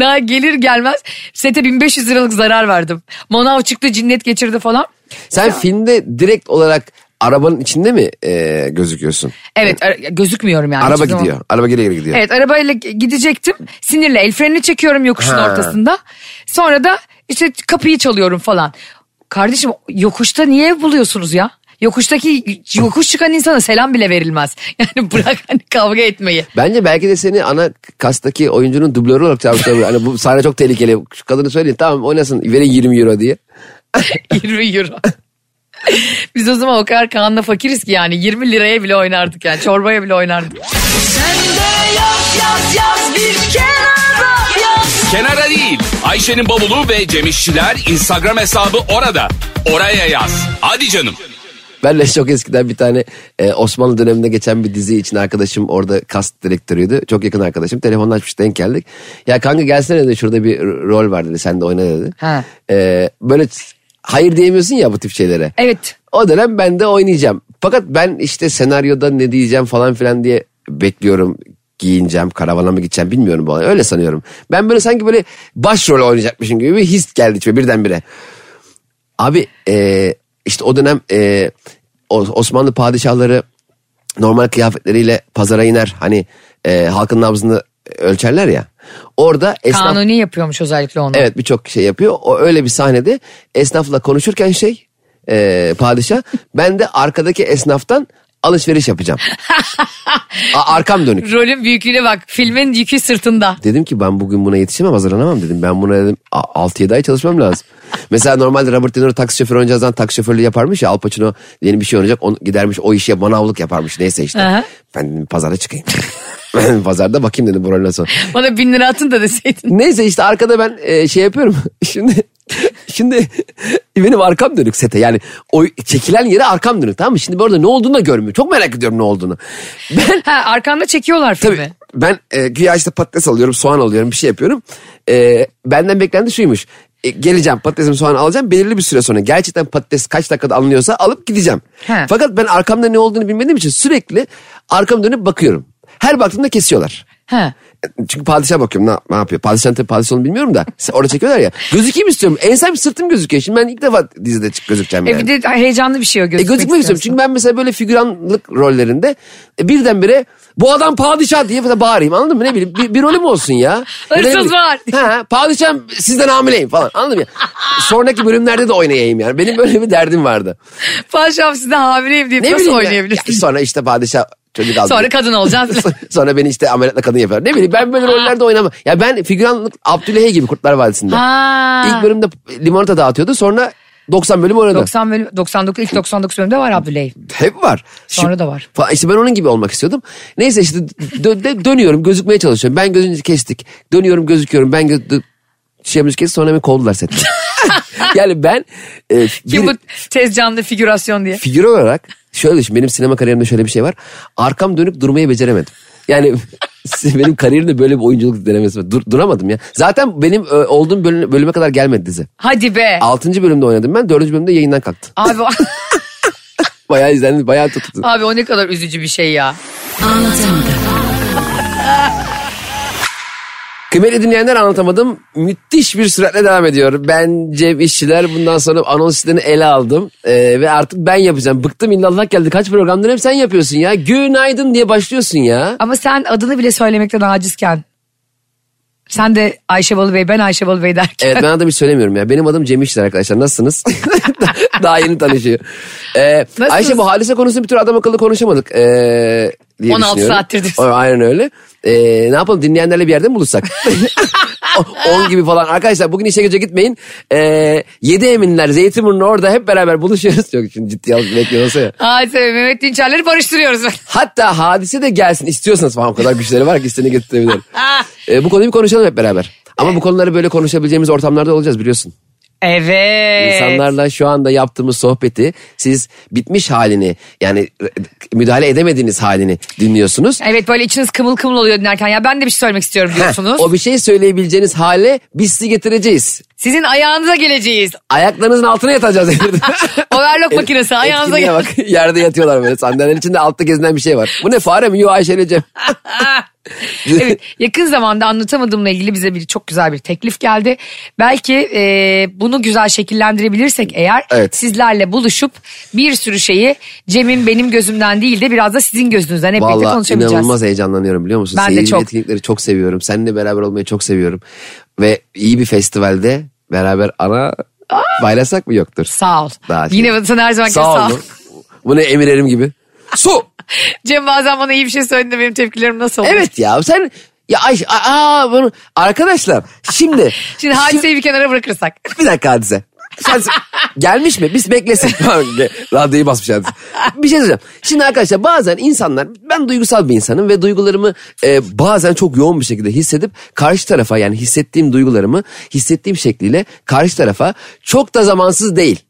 Speaker 3: Daha gelir gelmez sete 1500 liralık zarar verdim. Manav çıktı cinnet geçirdi falan.
Speaker 4: Sen filmde direkt olarak arabanın içinde mi e, gözüküyorsun?
Speaker 3: Evet ara- gözükmüyorum yani.
Speaker 4: Araba
Speaker 3: hiçbir zaman.
Speaker 4: gidiyor. Araba geri geri gidiyor.
Speaker 3: Evet arabayla gidecektim. Sinirle el frenini çekiyorum yokuşun
Speaker 4: Ha.
Speaker 3: ortasında. Sonra da işte kapıyı çalıyorum falan. Kardeşim yokuşta niye ev buluyorsunuz ya? Yokuştaki yokuş çıkan insana selam bile verilmez. Yani bırak hani kavga etmeyi.
Speaker 4: Bence belki de seni ana kastaki oyuncunun dublörü olarak çağırmışlar. hani bu sahne çok tehlikeli. Şu kadını söyleyin tamam oynasın verin 20 euro diye.
Speaker 3: 20 euro. Biz o zaman o kadar Kaan'la fakiriz ki yani 20 liraya bile oynardık yani çorbaya bile oynardık.
Speaker 2: Kenara değil. Ayşe'nin bavulu ve Cemişçiler Instagram hesabı orada. Oraya yaz. Hadi canım.
Speaker 4: Ben de çok eskiden bir tane e, Osmanlı döneminde geçen bir dizi için arkadaşım orada kast direktörüydü. Çok yakın arkadaşım. Telefonla açmış denk geldik. Ya kanka gelsene dedi şurada bir r- rol var dedi. Sen de oyna dedi.
Speaker 3: Ha.
Speaker 4: E, böyle t- hayır diyemiyorsun ya bu tip şeylere.
Speaker 3: Evet
Speaker 4: O dönem ben de oynayacağım. Fakat ben işte senaryoda ne diyeceğim falan filan diye bekliyorum. Giyineceğim, karavana mı gideceğim bilmiyorum bu an. Öyle sanıyorum. Ben böyle sanki böyle başrol oynayacakmışım gibi bir his geldi içime birdenbire. Abi e, işte o dönem e, O- Osmanlı padişahları normal kıyafetleriyle pazara iner. Hani e, halkın nabzını ölçerler ya. Orada esnaf...
Speaker 3: kanuni yapıyormuş özellikle onu.
Speaker 4: Evet birçok şey yapıyor. O öyle bir sahnede esnafla konuşurken şey e, padişah ben de arkadaki esnaftan alışveriş yapacağım. A- arkam dönük.
Speaker 3: Rolün büyüklüğüne bak filmin yükü sırtında.
Speaker 4: Dedim ki ben bugün buna yetişemem hazırlanamam dedim. Ben buna dedim a- 6-7 ay çalışmam lazım. Mesela normalde Robert De Niro taksi şoförü oynayacağından taksi şoförlüğü yaparmış ya Al Pacino yeni bir şey oynayacak onu gidermiş o işe manavlık yaparmış neyse işte.
Speaker 3: Aha.
Speaker 4: Ben dedim pazara çıkayım. Pazarda bakayım dedim bu rol nasıl.
Speaker 3: Bana bin lira atın da deseydin.
Speaker 4: Neyse işte arkada ben e, şey yapıyorum. Şimdi şimdi benim arkam dönük sete. Yani o çekilen yere arkam dönük tamam mı? Şimdi bu arada ne olduğunu da görmüyor. Çok merak ediyorum ne olduğunu. Ben
Speaker 3: Ha arkanda çekiyorlar filmi.
Speaker 4: tabii ben e, güya işte patates alıyorum, soğan alıyorum, bir şey yapıyorum. E, benden beklenti şuymuş. E, geleceğim patatesimi soğan alacağım belirli bir süre sonra. Gerçekten patates kaç dakikada alınıyorsa alıp gideceğim.
Speaker 3: He.
Speaker 4: Fakat ben arkamda ne olduğunu bilmediğim için sürekli arkam dönüp bakıyorum. Her baktığımda kesiyorlar.
Speaker 3: Ha.
Speaker 4: Çünkü padişah bakıyorum ne, ne yapıyor. Padişahın tabii padişah olduğunu bilmiyorum da. Se- Orada çekiyorlar ya. Gözükeyim istiyorum. Ensem sırtım gözüküyor. Şimdi ben ilk defa dizide çık gözükeceğim yani.
Speaker 3: E bir de heyecanlı bir şey o
Speaker 4: E
Speaker 3: gözükmek
Speaker 4: gözükmek istiyorum. Çünkü ben mesela böyle figüranlık rollerinde e, birdenbire bu adam padişah diye falan bağırayım anladın mı? Ne bileyim bir, bir rolüm olsun ya. Ya da ne
Speaker 3: Hırsız
Speaker 4: bileyim,
Speaker 3: var.
Speaker 4: Ha, padişahım sizden hamileyim falan anladın mı? Sonraki bölümlerde de oynayayım yani. Benim böyle bir derdim vardı.
Speaker 3: Paşam size hamileyim deyip
Speaker 4: Ne
Speaker 3: nasıl
Speaker 4: bileyim ya.
Speaker 3: oynayabilirsin?
Speaker 4: Ya sonra işte padişah çocuk aldı.
Speaker 3: Sonra kadın olacaksın.
Speaker 4: Sonra beni işte ameliyatla kadın yapıyor. Ne bileyim ben böyle rollerde oynamam. Ya ben figüranlık Abdülhey gibi Kurtlar Vadisi'nde.
Speaker 3: Ha.
Speaker 4: İlk bölümde limonata dağıtıyordu sonra 90 bölüm oynadı.
Speaker 3: 90 bölüm, 99, ilk 99 bölümde var Abdüley.
Speaker 4: Hep var.
Speaker 3: Sonra
Speaker 4: Şimdi-
Speaker 3: da var.
Speaker 4: Falan. İşte ben onun gibi olmak istiyordum. Neyse işte dö- dö- dönüyorum gözükmeye çalışıyorum. Ben gözünü kestik. Dönüyorum gözüküyorum. Ben gö- dö- şeyimiz kestik sonra beni kovdular setten. yani ben e,
Speaker 3: Kim
Speaker 4: bir-
Speaker 3: bu tez canlı figürasyon diye.
Speaker 4: figür olarak şöyle düşün benim sinema kariyerimde şöyle bir şey var. Arkam dönüp durmayı beceremedim. Yani benim kariyerimde böyle bir oyunculuk denemesi var. Dur, duramadım ya. Zaten benim e, olduğum bölüm- bölüme kadar gelmedi dizi.
Speaker 3: Hadi be.
Speaker 4: 6. bölümde oynadım ben. 4. bölümde yayından kalktı.
Speaker 3: Abi, o-
Speaker 4: Bayağı izlendi, bayağı tuttu.
Speaker 3: abi o ne kadar üzücü bir şey ya.
Speaker 4: Kıymetli dinleyenler anlatamadım. Müthiş bir süratle devam ediyor. Ben Cem İşçiler bundan sonra anonslarını ele aldım. Ee, ve artık ben yapacağım. Bıktım illallah geldi. Kaç programdır hep sen yapıyorsun ya. Günaydın diye başlıyorsun ya.
Speaker 3: Ama sen adını bile söylemekten acizken. Sen de Ayşe Balıbey, ben Ayşe Balıbey derken.
Speaker 4: Evet ben adamı hiç söylemiyorum ya. Benim adım Cem İşçiler arkadaşlar. Nasılsınız? Daha yeni tanışıyor. Ee,
Speaker 3: Nasılsınız?
Speaker 4: Ayşe bu halise konusunu bir türlü adam akıllı konuşamadık. Ee, diye
Speaker 3: 16
Speaker 4: düşünüyorum.
Speaker 3: saattir diyorsun.
Speaker 4: O- Aynen öyle. Ee, ne yapalım dinleyenlerle bir yerde mi buluşsak? 10 gibi falan. Arkadaşlar bugün işe gece gitmeyin. Ee, 7 Eminler Zeytinburnu orada hep beraber buluşuyoruz. Yok şimdi ciddi alıp bekliyorsa ya.
Speaker 3: Ay tabii Mehmet Dinçerleri barıştırıyoruz.
Speaker 4: Hatta hadise de gelsin istiyorsanız falan o kadar güçleri var ki istediğini
Speaker 3: Ee.
Speaker 4: getirebilir. Ee, bu konuyu bir konuşalım hep beraber. Ama bu konuları böyle konuşabileceğimiz ortamlarda olacağız biliyorsun.
Speaker 3: Evet.
Speaker 4: İnsanlarla şu anda yaptığımız sohbeti siz bitmiş halini yani e, müdahale edemediğiniz halini dinliyorsunuz.
Speaker 3: Evet böyle içiniz kımıl kımıl oluyor dinlerken ya ben de bir şey söylemek istiyorum diyorsunuz.
Speaker 4: O bir şey söyleyebileceğiniz hale biz sizi getireceğiz.
Speaker 3: Sizin ayağınıza geleceğiz.
Speaker 4: Ayaklarınızın altına yatacağız.
Speaker 3: Overlock makinesi ayağınıza
Speaker 4: E, Etkinliğe
Speaker 3: gel.
Speaker 4: bak yerde yatıyorlar böyle sandalyenin içinde altta gezinen bir şey var. Bu ne fare mi? Yo Ayşe ile Cem.
Speaker 3: evet, yakın zamanda anlatamadığımla ilgili bize bir çok güzel bir teklif geldi. Belki e, bunu güzel şekillendirebilirsek eğer
Speaker 4: Evet.
Speaker 3: sizlerle buluşup bir sürü şeyi Cem'in benim gözümden değil de biraz da sizin gözünüzden hep birlikte
Speaker 4: Vallahi
Speaker 3: konuşabileceğiz.
Speaker 4: inanılmaz heyecanlanıyorum biliyor musun?
Speaker 3: Ben de
Speaker 4: Seyirci ve
Speaker 3: çok.
Speaker 4: etkinlikleri çok seviyorum. Seninle beraber olmayı çok seviyorum. Ve iyi bir festivalde beraber ana paylaşsak mı yoktur?
Speaker 3: Sağ ol.
Speaker 4: Daha şey.
Speaker 3: Yine sen her zaman
Speaker 4: Sağ ol. mu? Bu ne Emir Erim gibi. Su.
Speaker 3: Cem bazen bana iyi bir şey söylediğinde benim tepkilerim nasıl olur?
Speaker 4: Evet ya sen ya Ayşe aa, aa, bunu- arkadaşlar şimdi
Speaker 3: Şimdi hadiseyi bir kenara bırakırsak.
Speaker 4: Bir dakika hadise. Sen, gelmiş mi? Biz beklesin. Radyoyu basmış hadise. Bir şey söyleyeceğim. Şimdi arkadaşlar bazen insanlar ben duygusal bir insanım ve duygularımı e, bazen çok yoğun bir şekilde hissedip karşı tarafa yani hissettiğim duygularımı hissettiğim şekliyle karşı tarafa çok da zamansız değil.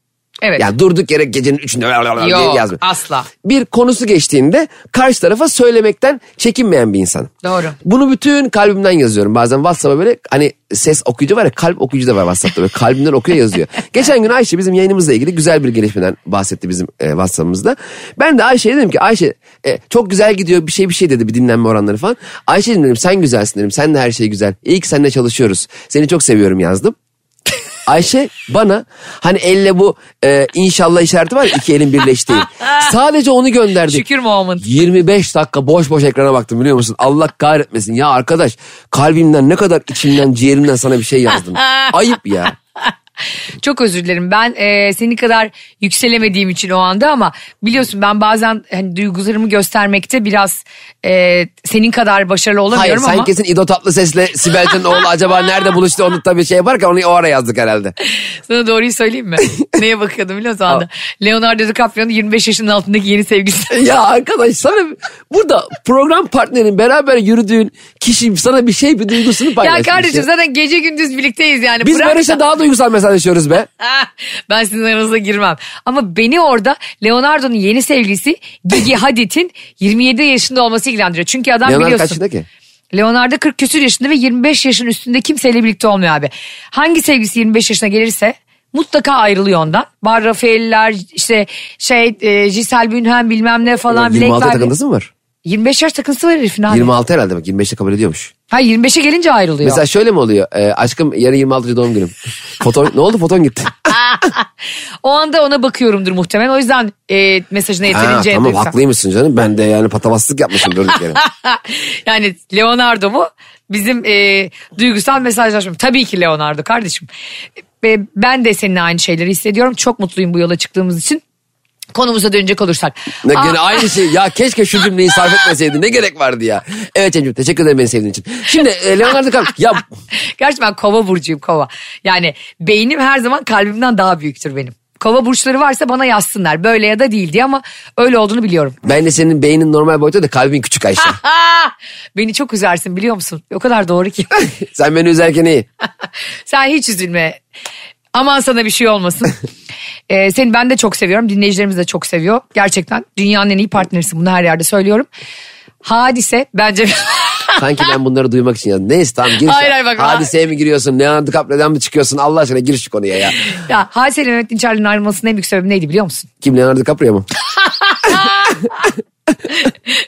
Speaker 3: Evet.
Speaker 4: Yani durduk yere gecenin üçünde diye
Speaker 3: Yok
Speaker 4: yazmıyor.
Speaker 3: asla.
Speaker 4: Bir konusu geçtiğinde karşı tarafa söylemekten çekinmeyen bir insanım.
Speaker 3: Doğru.
Speaker 4: Bunu bütün kalbimden yazıyorum. Bazen WhatsApp'a böyle hani ses okuyucu var ya kalp okuyucu da var WhatsApp'ta böyle kalbimden okuyor yazıyor. Geçen gün Ayşe bizim yayınımızla ilgili güzel bir gelişmeden bahsetti bizim e, WhatsApp'ımızda. Ben de Ayşe'ye dedim ki Ayşe e, çok güzel gidiyor bir şey bir şey dedi bir dinlenme oranları falan. Ayşe dedim sen güzelsin dedim sen de her şey güzel. İyi ki seninle çalışıyoruz. Seni çok seviyorum yazdım. Ayşe bana hani elle bu e, inşallah işareti var ya iki elin birleştiği. Sadece onu gönderdi.
Speaker 3: Şükür moment.
Speaker 4: 25 dakika boş boş ekrana baktım biliyor musun? Allah kahretmesin ya arkadaş kalbimden ne kadar içimden ciğerimden sana bir şey yazdım. Ayıp ya.
Speaker 3: Çok özür dilerim. Ben e, seni kadar yükselemediğim için o anda ama biliyorsun ben bazen hani duygularımı göstermekte biraz e, senin kadar başarılı
Speaker 4: Hayır
Speaker 3: olamıyorum
Speaker 4: sen
Speaker 3: ama
Speaker 4: kesin İdo Tatlıses'le Sibel Can'ın oğlu acaba nerede buluştu onu tabii şey yaparken onu o ara yazdık herhalde.
Speaker 3: sana doğruyu söyleyeyim mi? Neye bakıyordum biliyor musun o anda? Leonardo DiCaprio'nun 25 yaşının altındaki yeni sevgilisi.
Speaker 4: Ya arkadaş sana burada program partnerin beraber yürüdüğün kişi sana bir şey bir duygusunu
Speaker 3: ya
Speaker 4: paylaşmış.
Speaker 3: kardeşim zaten gece gündüz birlikteyiz yani.
Speaker 4: Biz
Speaker 3: Bırak
Speaker 4: Barış'la
Speaker 3: da-
Speaker 4: daha duygusal mesajlaşıyoruz be.
Speaker 3: Ah, ben sizin aranıza girmem. Ama beni orada Leonardo'nun yeni sevgilisi Gigi Hadid'in 27 yaşında olması ilgilendiriyor. Çünkü adam
Speaker 4: Leonardo
Speaker 3: biliyorsun.
Speaker 4: kaçında ki?
Speaker 3: Leonardo 40 küsür yaşında ve 25 yaşın üstünde kimseyle birlikte olmuyor abi. Hangi sevgisi 25 yaşına gelirse mutlaka ayrılıyor ondan. Bar Rafael'ler işte şey e, Giselle Bündchen bilmem ne falan.
Speaker 4: 26
Speaker 3: bilekler-
Speaker 4: takıntısı mı var?
Speaker 3: 25 yaş takıntısı var herifin abi.
Speaker 4: 26 herhalde bak 25'te kabul ediyormuş.
Speaker 3: Ha 25'e gelince ayrılıyor.
Speaker 4: Mesela şöyle mi oluyor? Ee, aşkım yarın 26. doğum günüm. Foton, ne oldu foton gitti.
Speaker 3: O anda ona bakıyorumdur muhtemelen. O yüzden e, mesajına
Speaker 4: Ha,
Speaker 3: yeterince
Speaker 4: tamam
Speaker 3: duysam.
Speaker 4: haklıymışsın canım. Ben de yani patavatsızlık yapmışım durduk yere.
Speaker 3: yani Leonardo mu? Bizim e, duygusal mesajlaşma. Tabii ki Leonardo kardeşim. Ve ben de seninle aynı şeyleri hissediyorum. Çok mutluyum bu yola çıktığımız için. Konumuza dönecek olursak.
Speaker 4: Ne
Speaker 3: Aa,
Speaker 4: gene aynı şey. Ya keşke şu cümleyi sarf etmeseydin. Ne gerek vardı ya? Evet Cemciğim teşekkür ederim beni sevdiğin için. Şimdi e, Leonardo DiCaprio. Ya
Speaker 3: Gerçi ben kova burcuyum kova. Yani beynim her zaman kalbimden daha büyüktür benim. Kova burçları varsa bana yazsınlar. Böyle ya da değil diye ama öyle olduğunu biliyorum.
Speaker 4: ben de senin beynin normal boyutta da kalbin küçük Ayşe.
Speaker 3: Ah. Aa, beni çok üzersin biliyor musun? O kadar doğru ki.
Speaker 4: Sen beni üzerken iyi.
Speaker 3: Sen hiç üzülme. Aman sana bir şey olmasın. Ee, seni ben de çok seviyorum. Dinleyicilerimiz de çok seviyor. Gerçekten dünyanın en iyi partnerisi. Bunu her yerde söylüyorum. Hadise bence...
Speaker 4: Sanki ben bunları duymak için yazdım. Neyse tamam gir.
Speaker 3: Hayır, hayır, bak-
Speaker 4: Hadiseye mi giriyorsun? Leonardo DiCaprio'dan mı çıkıyorsun? Allah aşkına gir şu konuya ya.
Speaker 3: ya Hadise ile Mehmet Dinçer'in ayrılmasının en büyük sebebi neydi biliyor musun?
Speaker 4: Kim Leonardo DiCaprio mu?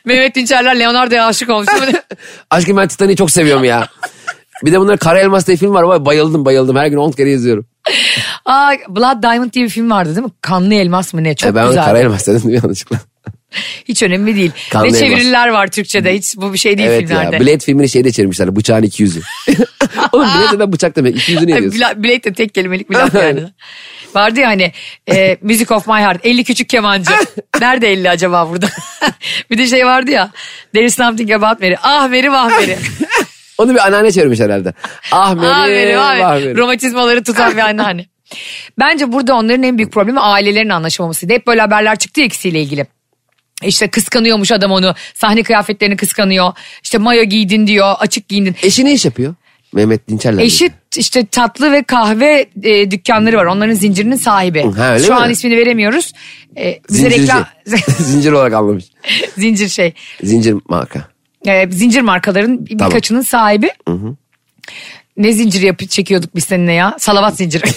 Speaker 3: Mehmet Dinçerler Leonardo'ya aşık olmuş.
Speaker 4: Aşkım ben Titanic'i çok seviyorum ya. Bir de bunlar Kara Elmas diye film var. Vay, bayıldım bayıldım. Her gün 10 kere izliyorum.
Speaker 3: Aa, Blood Diamond diye bir film vardı değil mi? Kanlı Elmas mı ne? Çok
Speaker 4: E, ben
Speaker 3: güzel.
Speaker 4: ona Kara Elmas dedim yanlışlıkla.
Speaker 3: Hiç önemli değil.
Speaker 4: Kanlı
Speaker 3: ne
Speaker 4: Elmas.
Speaker 3: çeviriler var Türkçe'de. Hiç bu bir şey değil
Speaker 4: evet
Speaker 3: filmlerde.
Speaker 4: ya. Blade filmini şeyde çevirmişler. Bıçağın iki yüzü. Oğlum Blade'e de bıçak demek. İki yüzü ne
Speaker 3: Ay,
Speaker 4: diyorsun?
Speaker 3: bla- Blade de tek kelimelik bir laf yani. Vardı ya hani e, Music of My Heart 50 küçük kemancı. Nerede 50 acaba burada? bir de şey vardı ya There is something about Mary. Ah Mary vah Mary.
Speaker 4: Onu bir anneanne çevirmiş herhalde. Ah
Speaker 3: ah Mary
Speaker 4: Meri.
Speaker 3: vah
Speaker 4: Ah
Speaker 3: Mary.
Speaker 4: Meri.
Speaker 3: Romatizmaları tutan bir anneanne. Bence burada onların en büyük problemi ailelerin anlaşamamasıydı. Hep böyle haberler çıktı ya ikisiyle ilgili. İşte kıskanıyormuş adam onu. Sahne kıyafetlerini kıskanıyor. İşte mayo giydin diyor. Açık giyindin.
Speaker 4: Eşi ne iş yapıyor? Mehmet Dinçer'le.
Speaker 3: Eşi işte tatlı ve kahve e, dükkanları var. Onların zincirinin sahibi.
Speaker 4: Ha, öyle
Speaker 3: Şu
Speaker 4: mi?
Speaker 3: an ismini veremiyoruz. E, bize
Speaker 4: Zincirci.
Speaker 3: reklam
Speaker 4: Zincir olarak anlamış.
Speaker 3: zincir şey.
Speaker 4: Zincir marka.
Speaker 3: E, zincir markaların bir-
Speaker 4: Tamam.
Speaker 3: birkaçının sahibi. Ne zinciri yapıp çekiyorduk biz seninle ya? Salavat zinciri.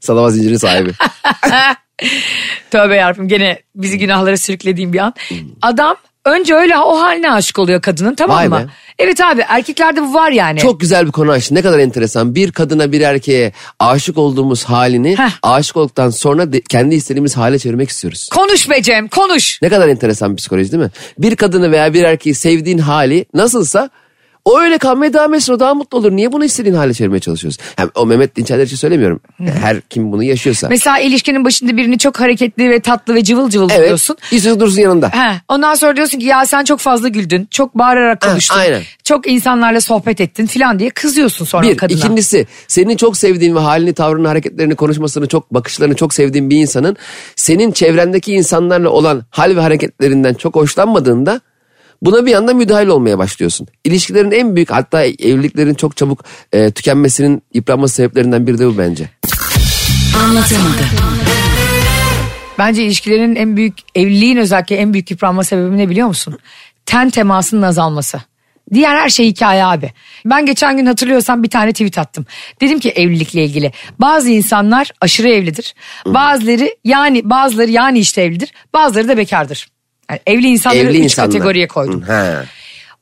Speaker 4: Salama zincirin sahibi.
Speaker 3: Tövbe yarabbim gene bizi günahlara sürüklediğim bir an.
Speaker 4: Hmm.
Speaker 3: Adam önce öyle o haline aşık oluyor kadının tamam
Speaker 4: Vay
Speaker 3: mı?
Speaker 4: be.
Speaker 3: Evet abi erkeklerde bu var yani.
Speaker 4: Çok güzel bir konu açtın. Ne kadar enteresan. Bir kadına bir erkeğe aşık olduğumuz halini
Speaker 3: Heh.
Speaker 4: aşık olduktan sonra de- kendi istediğimiz hale çevirmek istiyoruz.
Speaker 3: Konuş be Cem konuş.
Speaker 4: Ne kadar enteresan bir psikoloji değil mi? Bir kadını veya bir erkeği sevdiğin hali nasılsa o öyle kalmaya devam etsin o daha mutlu olur. Niye bunu istediğin hale çevirmeye çalışıyoruz? Hem o Mehmet Dinçerler için söylemiyorum. Her kim bunu yaşıyorsa.
Speaker 3: Mesela ilişkinin başında birini çok hareketli ve tatlı ve cıvıl cıvıl
Speaker 4: evet.
Speaker 3: buluyorsun.
Speaker 4: İstiyorsun dursun yanında.
Speaker 3: He, ondan sonra diyorsun ki ya sen çok fazla güldün, çok bağırarak
Speaker 4: Ha,
Speaker 3: konuştun,
Speaker 4: aynen.
Speaker 3: çok insanlarla sohbet ettin filan diye kızıyorsun sonra
Speaker 4: Bir,
Speaker 3: kadına.
Speaker 4: ikincisi senin çok sevdiğin ve halini, tavrını, hareketlerini, konuşmasını, çok bakışlarını çok sevdiğin bir insanın senin çevrendeki insanlarla olan hal ve hareketlerinden çok hoşlanmadığında buna bir anda müdahil olmaya başlıyorsun. İlişkilerin en büyük hatta evliliklerin çok çabuk e, tükenmesinin yıpranması sebeplerinden biri de bu bence.
Speaker 3: Bence ilişkilerin en büyük, evliliğin özellikle en büyük yıpranma sebebi ne biliyor musun? Ten temasının azalması. Diğer her şey hikaye abi. Ben geçen gün hatırlıyorsan bir tane tweet attım. Dedim ki evlilikle ilgili. Bazı insanlar aşırı evlidir. Bazıları yani bazıları yani işte evlidir. Bazıları da bekardır. Yani evli insanları
Speaker 4: Evli
Speaker 3: üç
Speaker 4: insanlar.
Speaker 3: kategoriye koydum.
Speaker 4: Hı, he.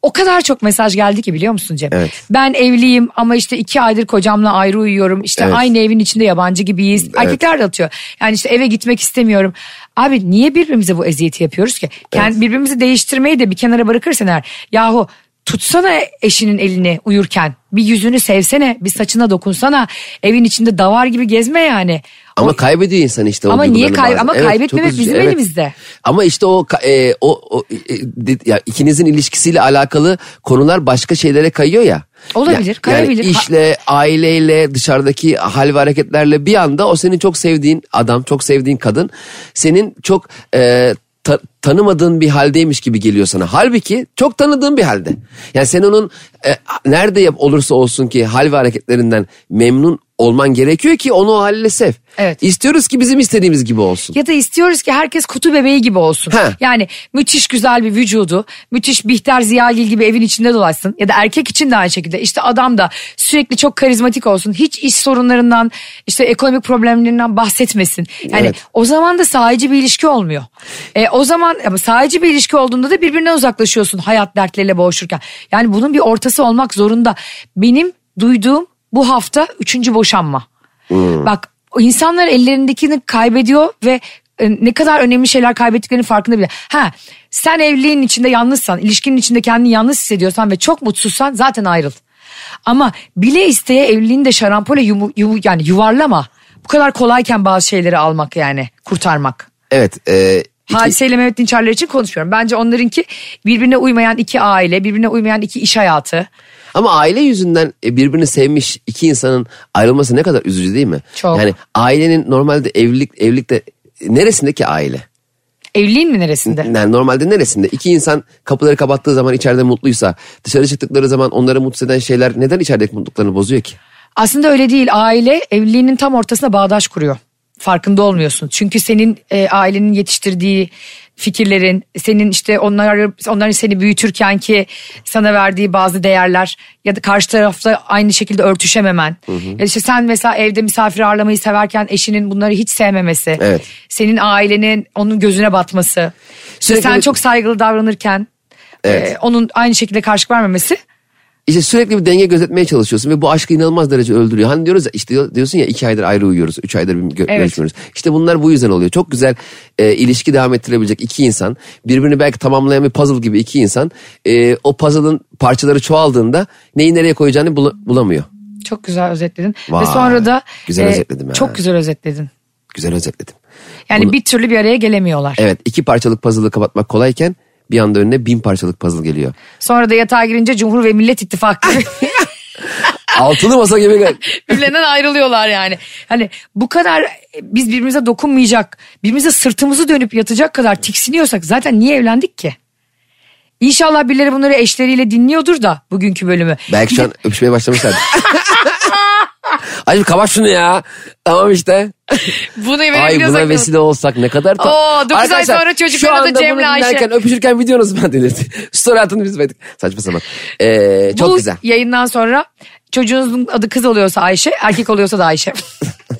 Speaker 3: O kadar çok mesaj geldi ki biliyor musun Cem?
Speaker 4: Evet.
Speaker 3: Ben evliyim ama işte iki aydır kocamla ayrı uyuyorum. İşte
Speaker 4: Evet.
Speaker 3: aynı evin içinde yabancı gibiyiz. Erkekler de atıyor. Yani işte eve gitmek istemiyorum. Abi niye birbirimize bu eziyeti yapıyoruz ki? Yani birbirimizi değiştirmeyi de bir kenara bırakırsan eğer. Yahu tutsana eşinin elini uyurken. Bir yüzünü sevsene. Bir saçına dokunsana. Evin içinde davar gibi gezme yani.
Speaker 4: Ama kaybediyor insan işte o
Speaker 3: Ama niye
Speaker 4: duygularını
Speaker 3: kay-
Speaker 4: bazen.
Speaker 3: ama
Speaker 4: Evet, çok
Speaker 3: kaybetmemek
Speaker 4: üzücü,
Speaker 3: bizim
Speaker 4: evet.
Speaker 3: elimizde.
Speaker 4: Ama işte o ka- e, o, o e, de- ya ikinizin ilişkisiyle alakalı konular başka şeylere kayıyor ya.
Speaker 3: Olabilir,
Speaker 4: Ya-
Speaker 3: kayabilir.
Speaker 4: Yani işle, aileyle, dışarıdaki hal ve hareketlerle bir anda o senin çok sevdiğin adam, çok sevdiğin kadın senin çok e, ta- tanımadığın bir haldeymiş gibi geliyor sana. Halbuki çok tanıdığın bir halde. Yani sen onun e, nerede yap olursa olsun ki hal ve hareketlerinden memnun olman gerekiyor ki onu o haliyle sev.
Speaker 3: Evet.
Speaker 4: İstiyoruz ki bizim istediğimiz gibi olsun.
Speaker 3: Ya da istiyoruz ki herkes kutu bebeği gibi olsun.
Speaker 4: He.
Speaker 3: Yani müthiş güzel bir vücudu, müthiş Bihter Ziyagil gibi evin içinde dolaşsın. Ya da erkek için de aynı şekilde. İşte adam da sürekli çok karizmatik olsun. Hiç iş sorunlarından, işte ekonomik problemlerinden bahsetmesin. Yani
Speaker 4: Evet.
Speaker 3: o zaman da sahici bir ilişki olmuyor. E, o zaman ama sahici bir ilişki olduğunda da birbirinden uzaklaşıyorsun hayat dertleriyle boğuşurken. Yani bunun bir ortası olmak zorunda. Benim duyduğum bu hafta üçüncü boşanma. Bak insanlar ellerindekini kaybediyor ve e, ne kadar önemli şeyler kaybettiklerinin farkında bile. Ha sen evliliğin içinde yalnızsan, ilişkinin içinde kendini yalnız hissediyorsan ve çok mutsuzsan zaten ayrıl. Ama bile isteye evliliğini de şarampole yumu, yumu- yani yuvarlama. Bu kadar kolayken bazı şeyleri almak yani kurtarmak.
Speaker 4: Evet. e,
Speaker 3: Hadise ile Mehmet Dinçerler için konuşmuyorum. Bence onlarınki birbirine uymayan iki aile, birbirine uymayan iki iş hayatı.
Speaker 4: Ama aile yüzünden e, birbirini sevmiş iki insanın ayrılması ne kadar üzücü değil mi?
Speaker 3: Çok.
Speaker 4: Yani ailenin normalde evlilik evlilikte e, neresindeki aile?
Speaker 3: Evliliğin mi neresinde?
Speaker 4: Yani normalde neresinde? İki insan kapıları kapattığı zaman içeride mutluysa, dışarı çıktıkları zaman onları mutsuz eden şeyler neden içerideki mutluluklarını bozuyor ki?
Speaker 3: Aslında öyle değil. Aile evliliğinin tam ortasına bağdaş kuruyor. Farkında olmuyorsun. Çünkü senin e, ailenin yetiştirdiği fikirlerin, senin işte onlar onların seni büyütürken ki sana verdiği bazı değerler ya da karşı tarafla aynı şekilde örtüşememen. Ya da işte sen mesela evde misafir ağırlamayı severken eşinin bunları hiç sevmemesi.
Speaker 4: Evet.
Speaker 3: Senin ailenin onun gözüne batması. İşte
Speaker 4: Sürekli
Speaker 3: sen
Speaker 4: bir-
Speaker 3: çok saygılı davranırken
Speaker 4: Evet.
Speaker 3: e, onun aynı şekilde karşılık vermemesi.
Speaker 4: İşte sürekli bir denge gözetmeye çalışıyorsun ve bu aşkı inanılmaz derece öldürüyor. Hani diyoruz ya işte diyor- diyorsun ya iki aydır ayrı uyuyoruz, üç aydır bir gö-
Speaker 3: Evet.
Speaker 4: görüşmüyoruz. İşte bunlar bu yüzden oluyor. Çok güzel e, ilişki devam ettirebilecek iki insan, birbirini belki tamamlayan bir puzzle gibi iki insan e, o puzzle'ın parçaları çoğaldığında neyi nereye koyacağını bula- bulamıyor.
Speaker 3: Çok güzel özetledin.
Speaker 4: Vay,
Speaker 3: Ve sonra da e,
Speaker 4: güzel özetledim ha.
Speaker 3: çok güzel özetledin.
Speaker 4: Güzel özetledim.
Speaker 3: Yani bir türlü bir araya gelemiyorlar.
Speaker 4: Evet iki parçalık puzzle'ı kapatmak kolayken bir anda önüne bin parçalık puzzle geliyor.
Speaker 3: Sonra da yatağa girince Cumhur ve Millet İttifakı
Speaker 4: Altılı masa gibi gel-
Speaker 3: birbirlerinden ayrılıyorlar yani. Hani bu kadar biz birbirimize dokunmayacak, birbirimize sırtımızı dönüp yatacak kadar tiksiniyorsak zaten niye evlendik ki? İnşallah birileri bunları eşleriyle dinliyordur da bugünkü bölümü.
Speaker 4: Belki şu an öpüşmeye başlamışlar. Ay kapat şunu ya. Tamam işte.
Speaker 3: Bunu
Speaker 4: Ay buna vesile olsak ne kadar ta-
Speaker 3: Oo, dokuz ay
Speaker 4: Arkadaşlar,
Speaker 3: sonra çocuklara da Cemre
Speaker 4: Şu anda
Speaker 3: Ayşe.
Speaker 4: bunu dinlerken öpüşürken videonuz ben delirdi. Story atın biz verdik. Saçma sapan. Ee, çok
Speaker 3: Bu
Speaker 4: güzel.
Speaker 3: yayından sonra çocuğunuzun adı kız oluyorsa Ayşe, erkek oluyorsa da Ayşe.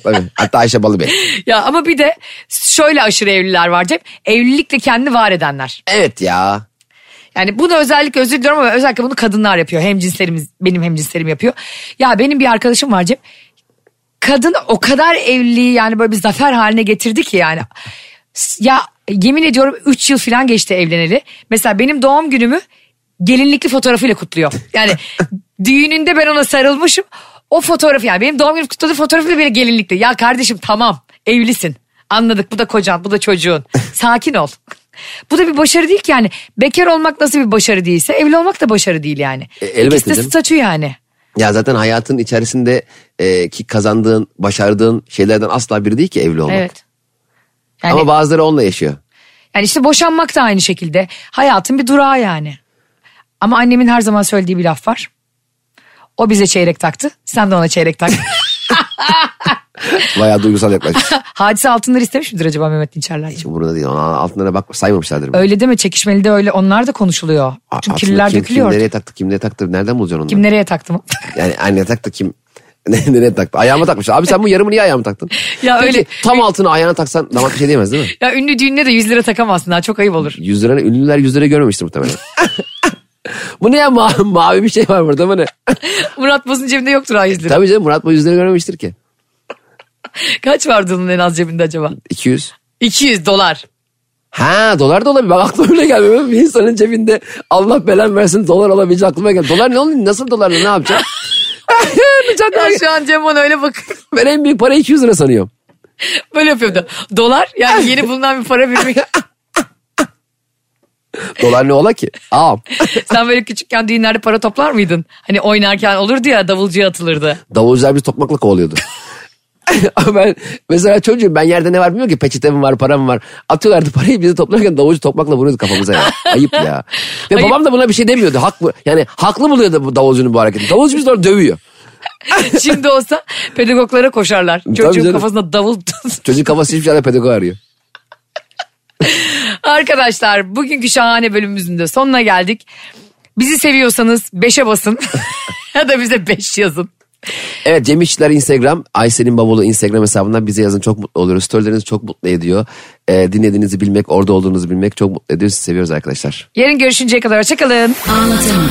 Speaker 4: Tabii. Hatta Ayşe Balıbey.
Speaker 3: ya ama bir de şöyle aşırı evliler var Cem. Evlilikle kendini var edenler.
Speaker 4: Evet ya.
Speaker 3: Yani bunu özellikle özür diliyorum ama özellikle bunu kadınlar yapıyor. Hem cinslerimiz benim hem cinslerim yapıyor. Ya benim bir arkadaşım var Cem. Kadın o kadar evliliği yani böyle bir zafer haline getirdi ki yani. Ya yemin ediyorum 3 yıl falan geçti evleneli. Mesela benim doğum günümü gelinlikli fotoğrafıyla kutluyor. Yani düğününde ben ona sarılmışım. O fotoğrafı yani benim doğum günümü kutladığı fotoğrafıyla bile gelinlikli. Ya kardeşim tamam evlisin. Anladık bu da kocan bu da çocuğun. Sakin ol. Bu da bir başarı değil ki yani. Bekar olmak nasıl bir başarı değilse evli olmak da başarı değil yani.
Speaker 4: E, elbette
Speaker 3: İkisi de
Speaker 4: canım.
Speaker 3: statü yani.
Speaker 4: Ya zaten hayatın içerisinde e, ki kazandığın, başardığın şeylerden asla biri değil ki evli olmak.
Speaker 3: Evet. Yani,
Speaker 4: Ama bazıları onunla yaşıyor.
Speaker 3: yani işte boşanmak da aynı şekilde. Hayatın bir durağı yani. Ama annemin her zaman söylediği bir laf var. O bize çeyrek taktı. Sen de ona çeyrek tak.
Speaker 4: Bayağı duygusal yaklaşmış.
Speaker 3: Hadise altınları istemiş midir acaba Mehmet Dinçerler?
Speaker 4: Hiç umurunda değil. Ona altınlara bak saymamışlardır. bile.
Speaker 3: Öyle deme çekişmeli de öyle onlar da konuşuluyor.
Speaker 4: A-
Speaker 3: Çünkü
Speaker 4: altını
Speaker 3: kirliler
Speaker 4: kim,
Speaker 3: dökülüyor.
Speaker 4: Kim
Speaker 3: Kim,
Speaker 4: nereye taktı, kim nereye taktı, nereden bulacaksın onu?
Speaker 3: nereye taktı mı?
Speaker 4: Yani anne taktı kim? Ne- nereye taktı? Ayağıma takmış. Abi sen bu yarımı niye ayağıma taktın?
Speaker 3: Ya
Speaker 4: Peki,
Speaker 3: öyle-
Speaker 4: Tam altını ayağına taksan damat bir şey diyemez değil mi?
Speaker 3: ya ünlü düğününe de 100 lira takamazsın ha çok ayıp olur.
Speaker 4: 100 lira ünlüler 100 lira görmemiştir muhtemelen. bu ne ya ma- mavi bir şey var burada bu ne?
Speaker 3: Murat Boz'un cebinde yoktur ha 100 lira.
Speaker 4: Tabii canım Murat bu 100 lira görmemiştir ki.
Speaker 3: Kaç vardı onun en az cebinde acaba?
Speaker 4: 200.
Speaker 3: 200 dolar.
Speaker 4: Ha dolar da olabilir. Bak aklıma öyle gelmiyor. Bir insanın cebinde Allah belen versin dolar olabilecek aklıma geldi. Dolar ne oluyor? Nasıl dolar ne yapacağım?
Speaker 3: Ya şu an Cem ona öyle bakıyor.
Speaker 4: ben en büyük para 200 lira sanıyorum.
Speaker 3: Böyle yapıyordu. Dolar yani yeni bulunan bir para birimi.
Speaker 4: Dolar ne ola ki? Ağam.
Speaker 3: Sen böyle küçükken düğünlerde para toplar mıydın? Hani oynarken olurdu ya davulcuya atılırdı.
Speaker 4: Davulcular bizi tokmakla kovalıyordu. Ama ben mesela çocuğum ben yerde ne var bilmiyorum ki peçete mi var para mı var atıyorlardı parayı bizi toplarken davulcu tokmakla vuruyordu kafamıza ya. ayıp ya ve
Speaker 3: Ayıp.
Speaker 4: babam da buna bir şey demiyordu Hak, bu- yani haklı buluyordu bu davulcunun bu hareketi davulcu bizi orada dövüyor
Speaker 3: Şimdi olsa pedagoglara koşarlar.
Speaker 4: canım.
Speaker 3: Çocuğun kafasına davul tut.
Speaker 4: çocuk kafası hiçbir şeyle pedagog arıyor
Speaker 3: Arkadaşlar bugünkü şahane bölümümüzün de sonuna geldik. Bizi seviyorsanız 5'e basın ya da bize 5 yazın.
Speaker 4: evet Cem İşçiler Instagram Aysel'in Bavulu Instagram hesabından bize yazın çok mutlu oluyoruz storyleriniz çok mutlu ediyor Ee, dinlediğinizi bilmek orada olduğunuzu bilmek çok mutlu ediyor sizi seviyoruz arkadaşlar
Speaker 3: Yarın görüşünceye kadar hoşçakalın.
Speaker 5: Anlatamadım.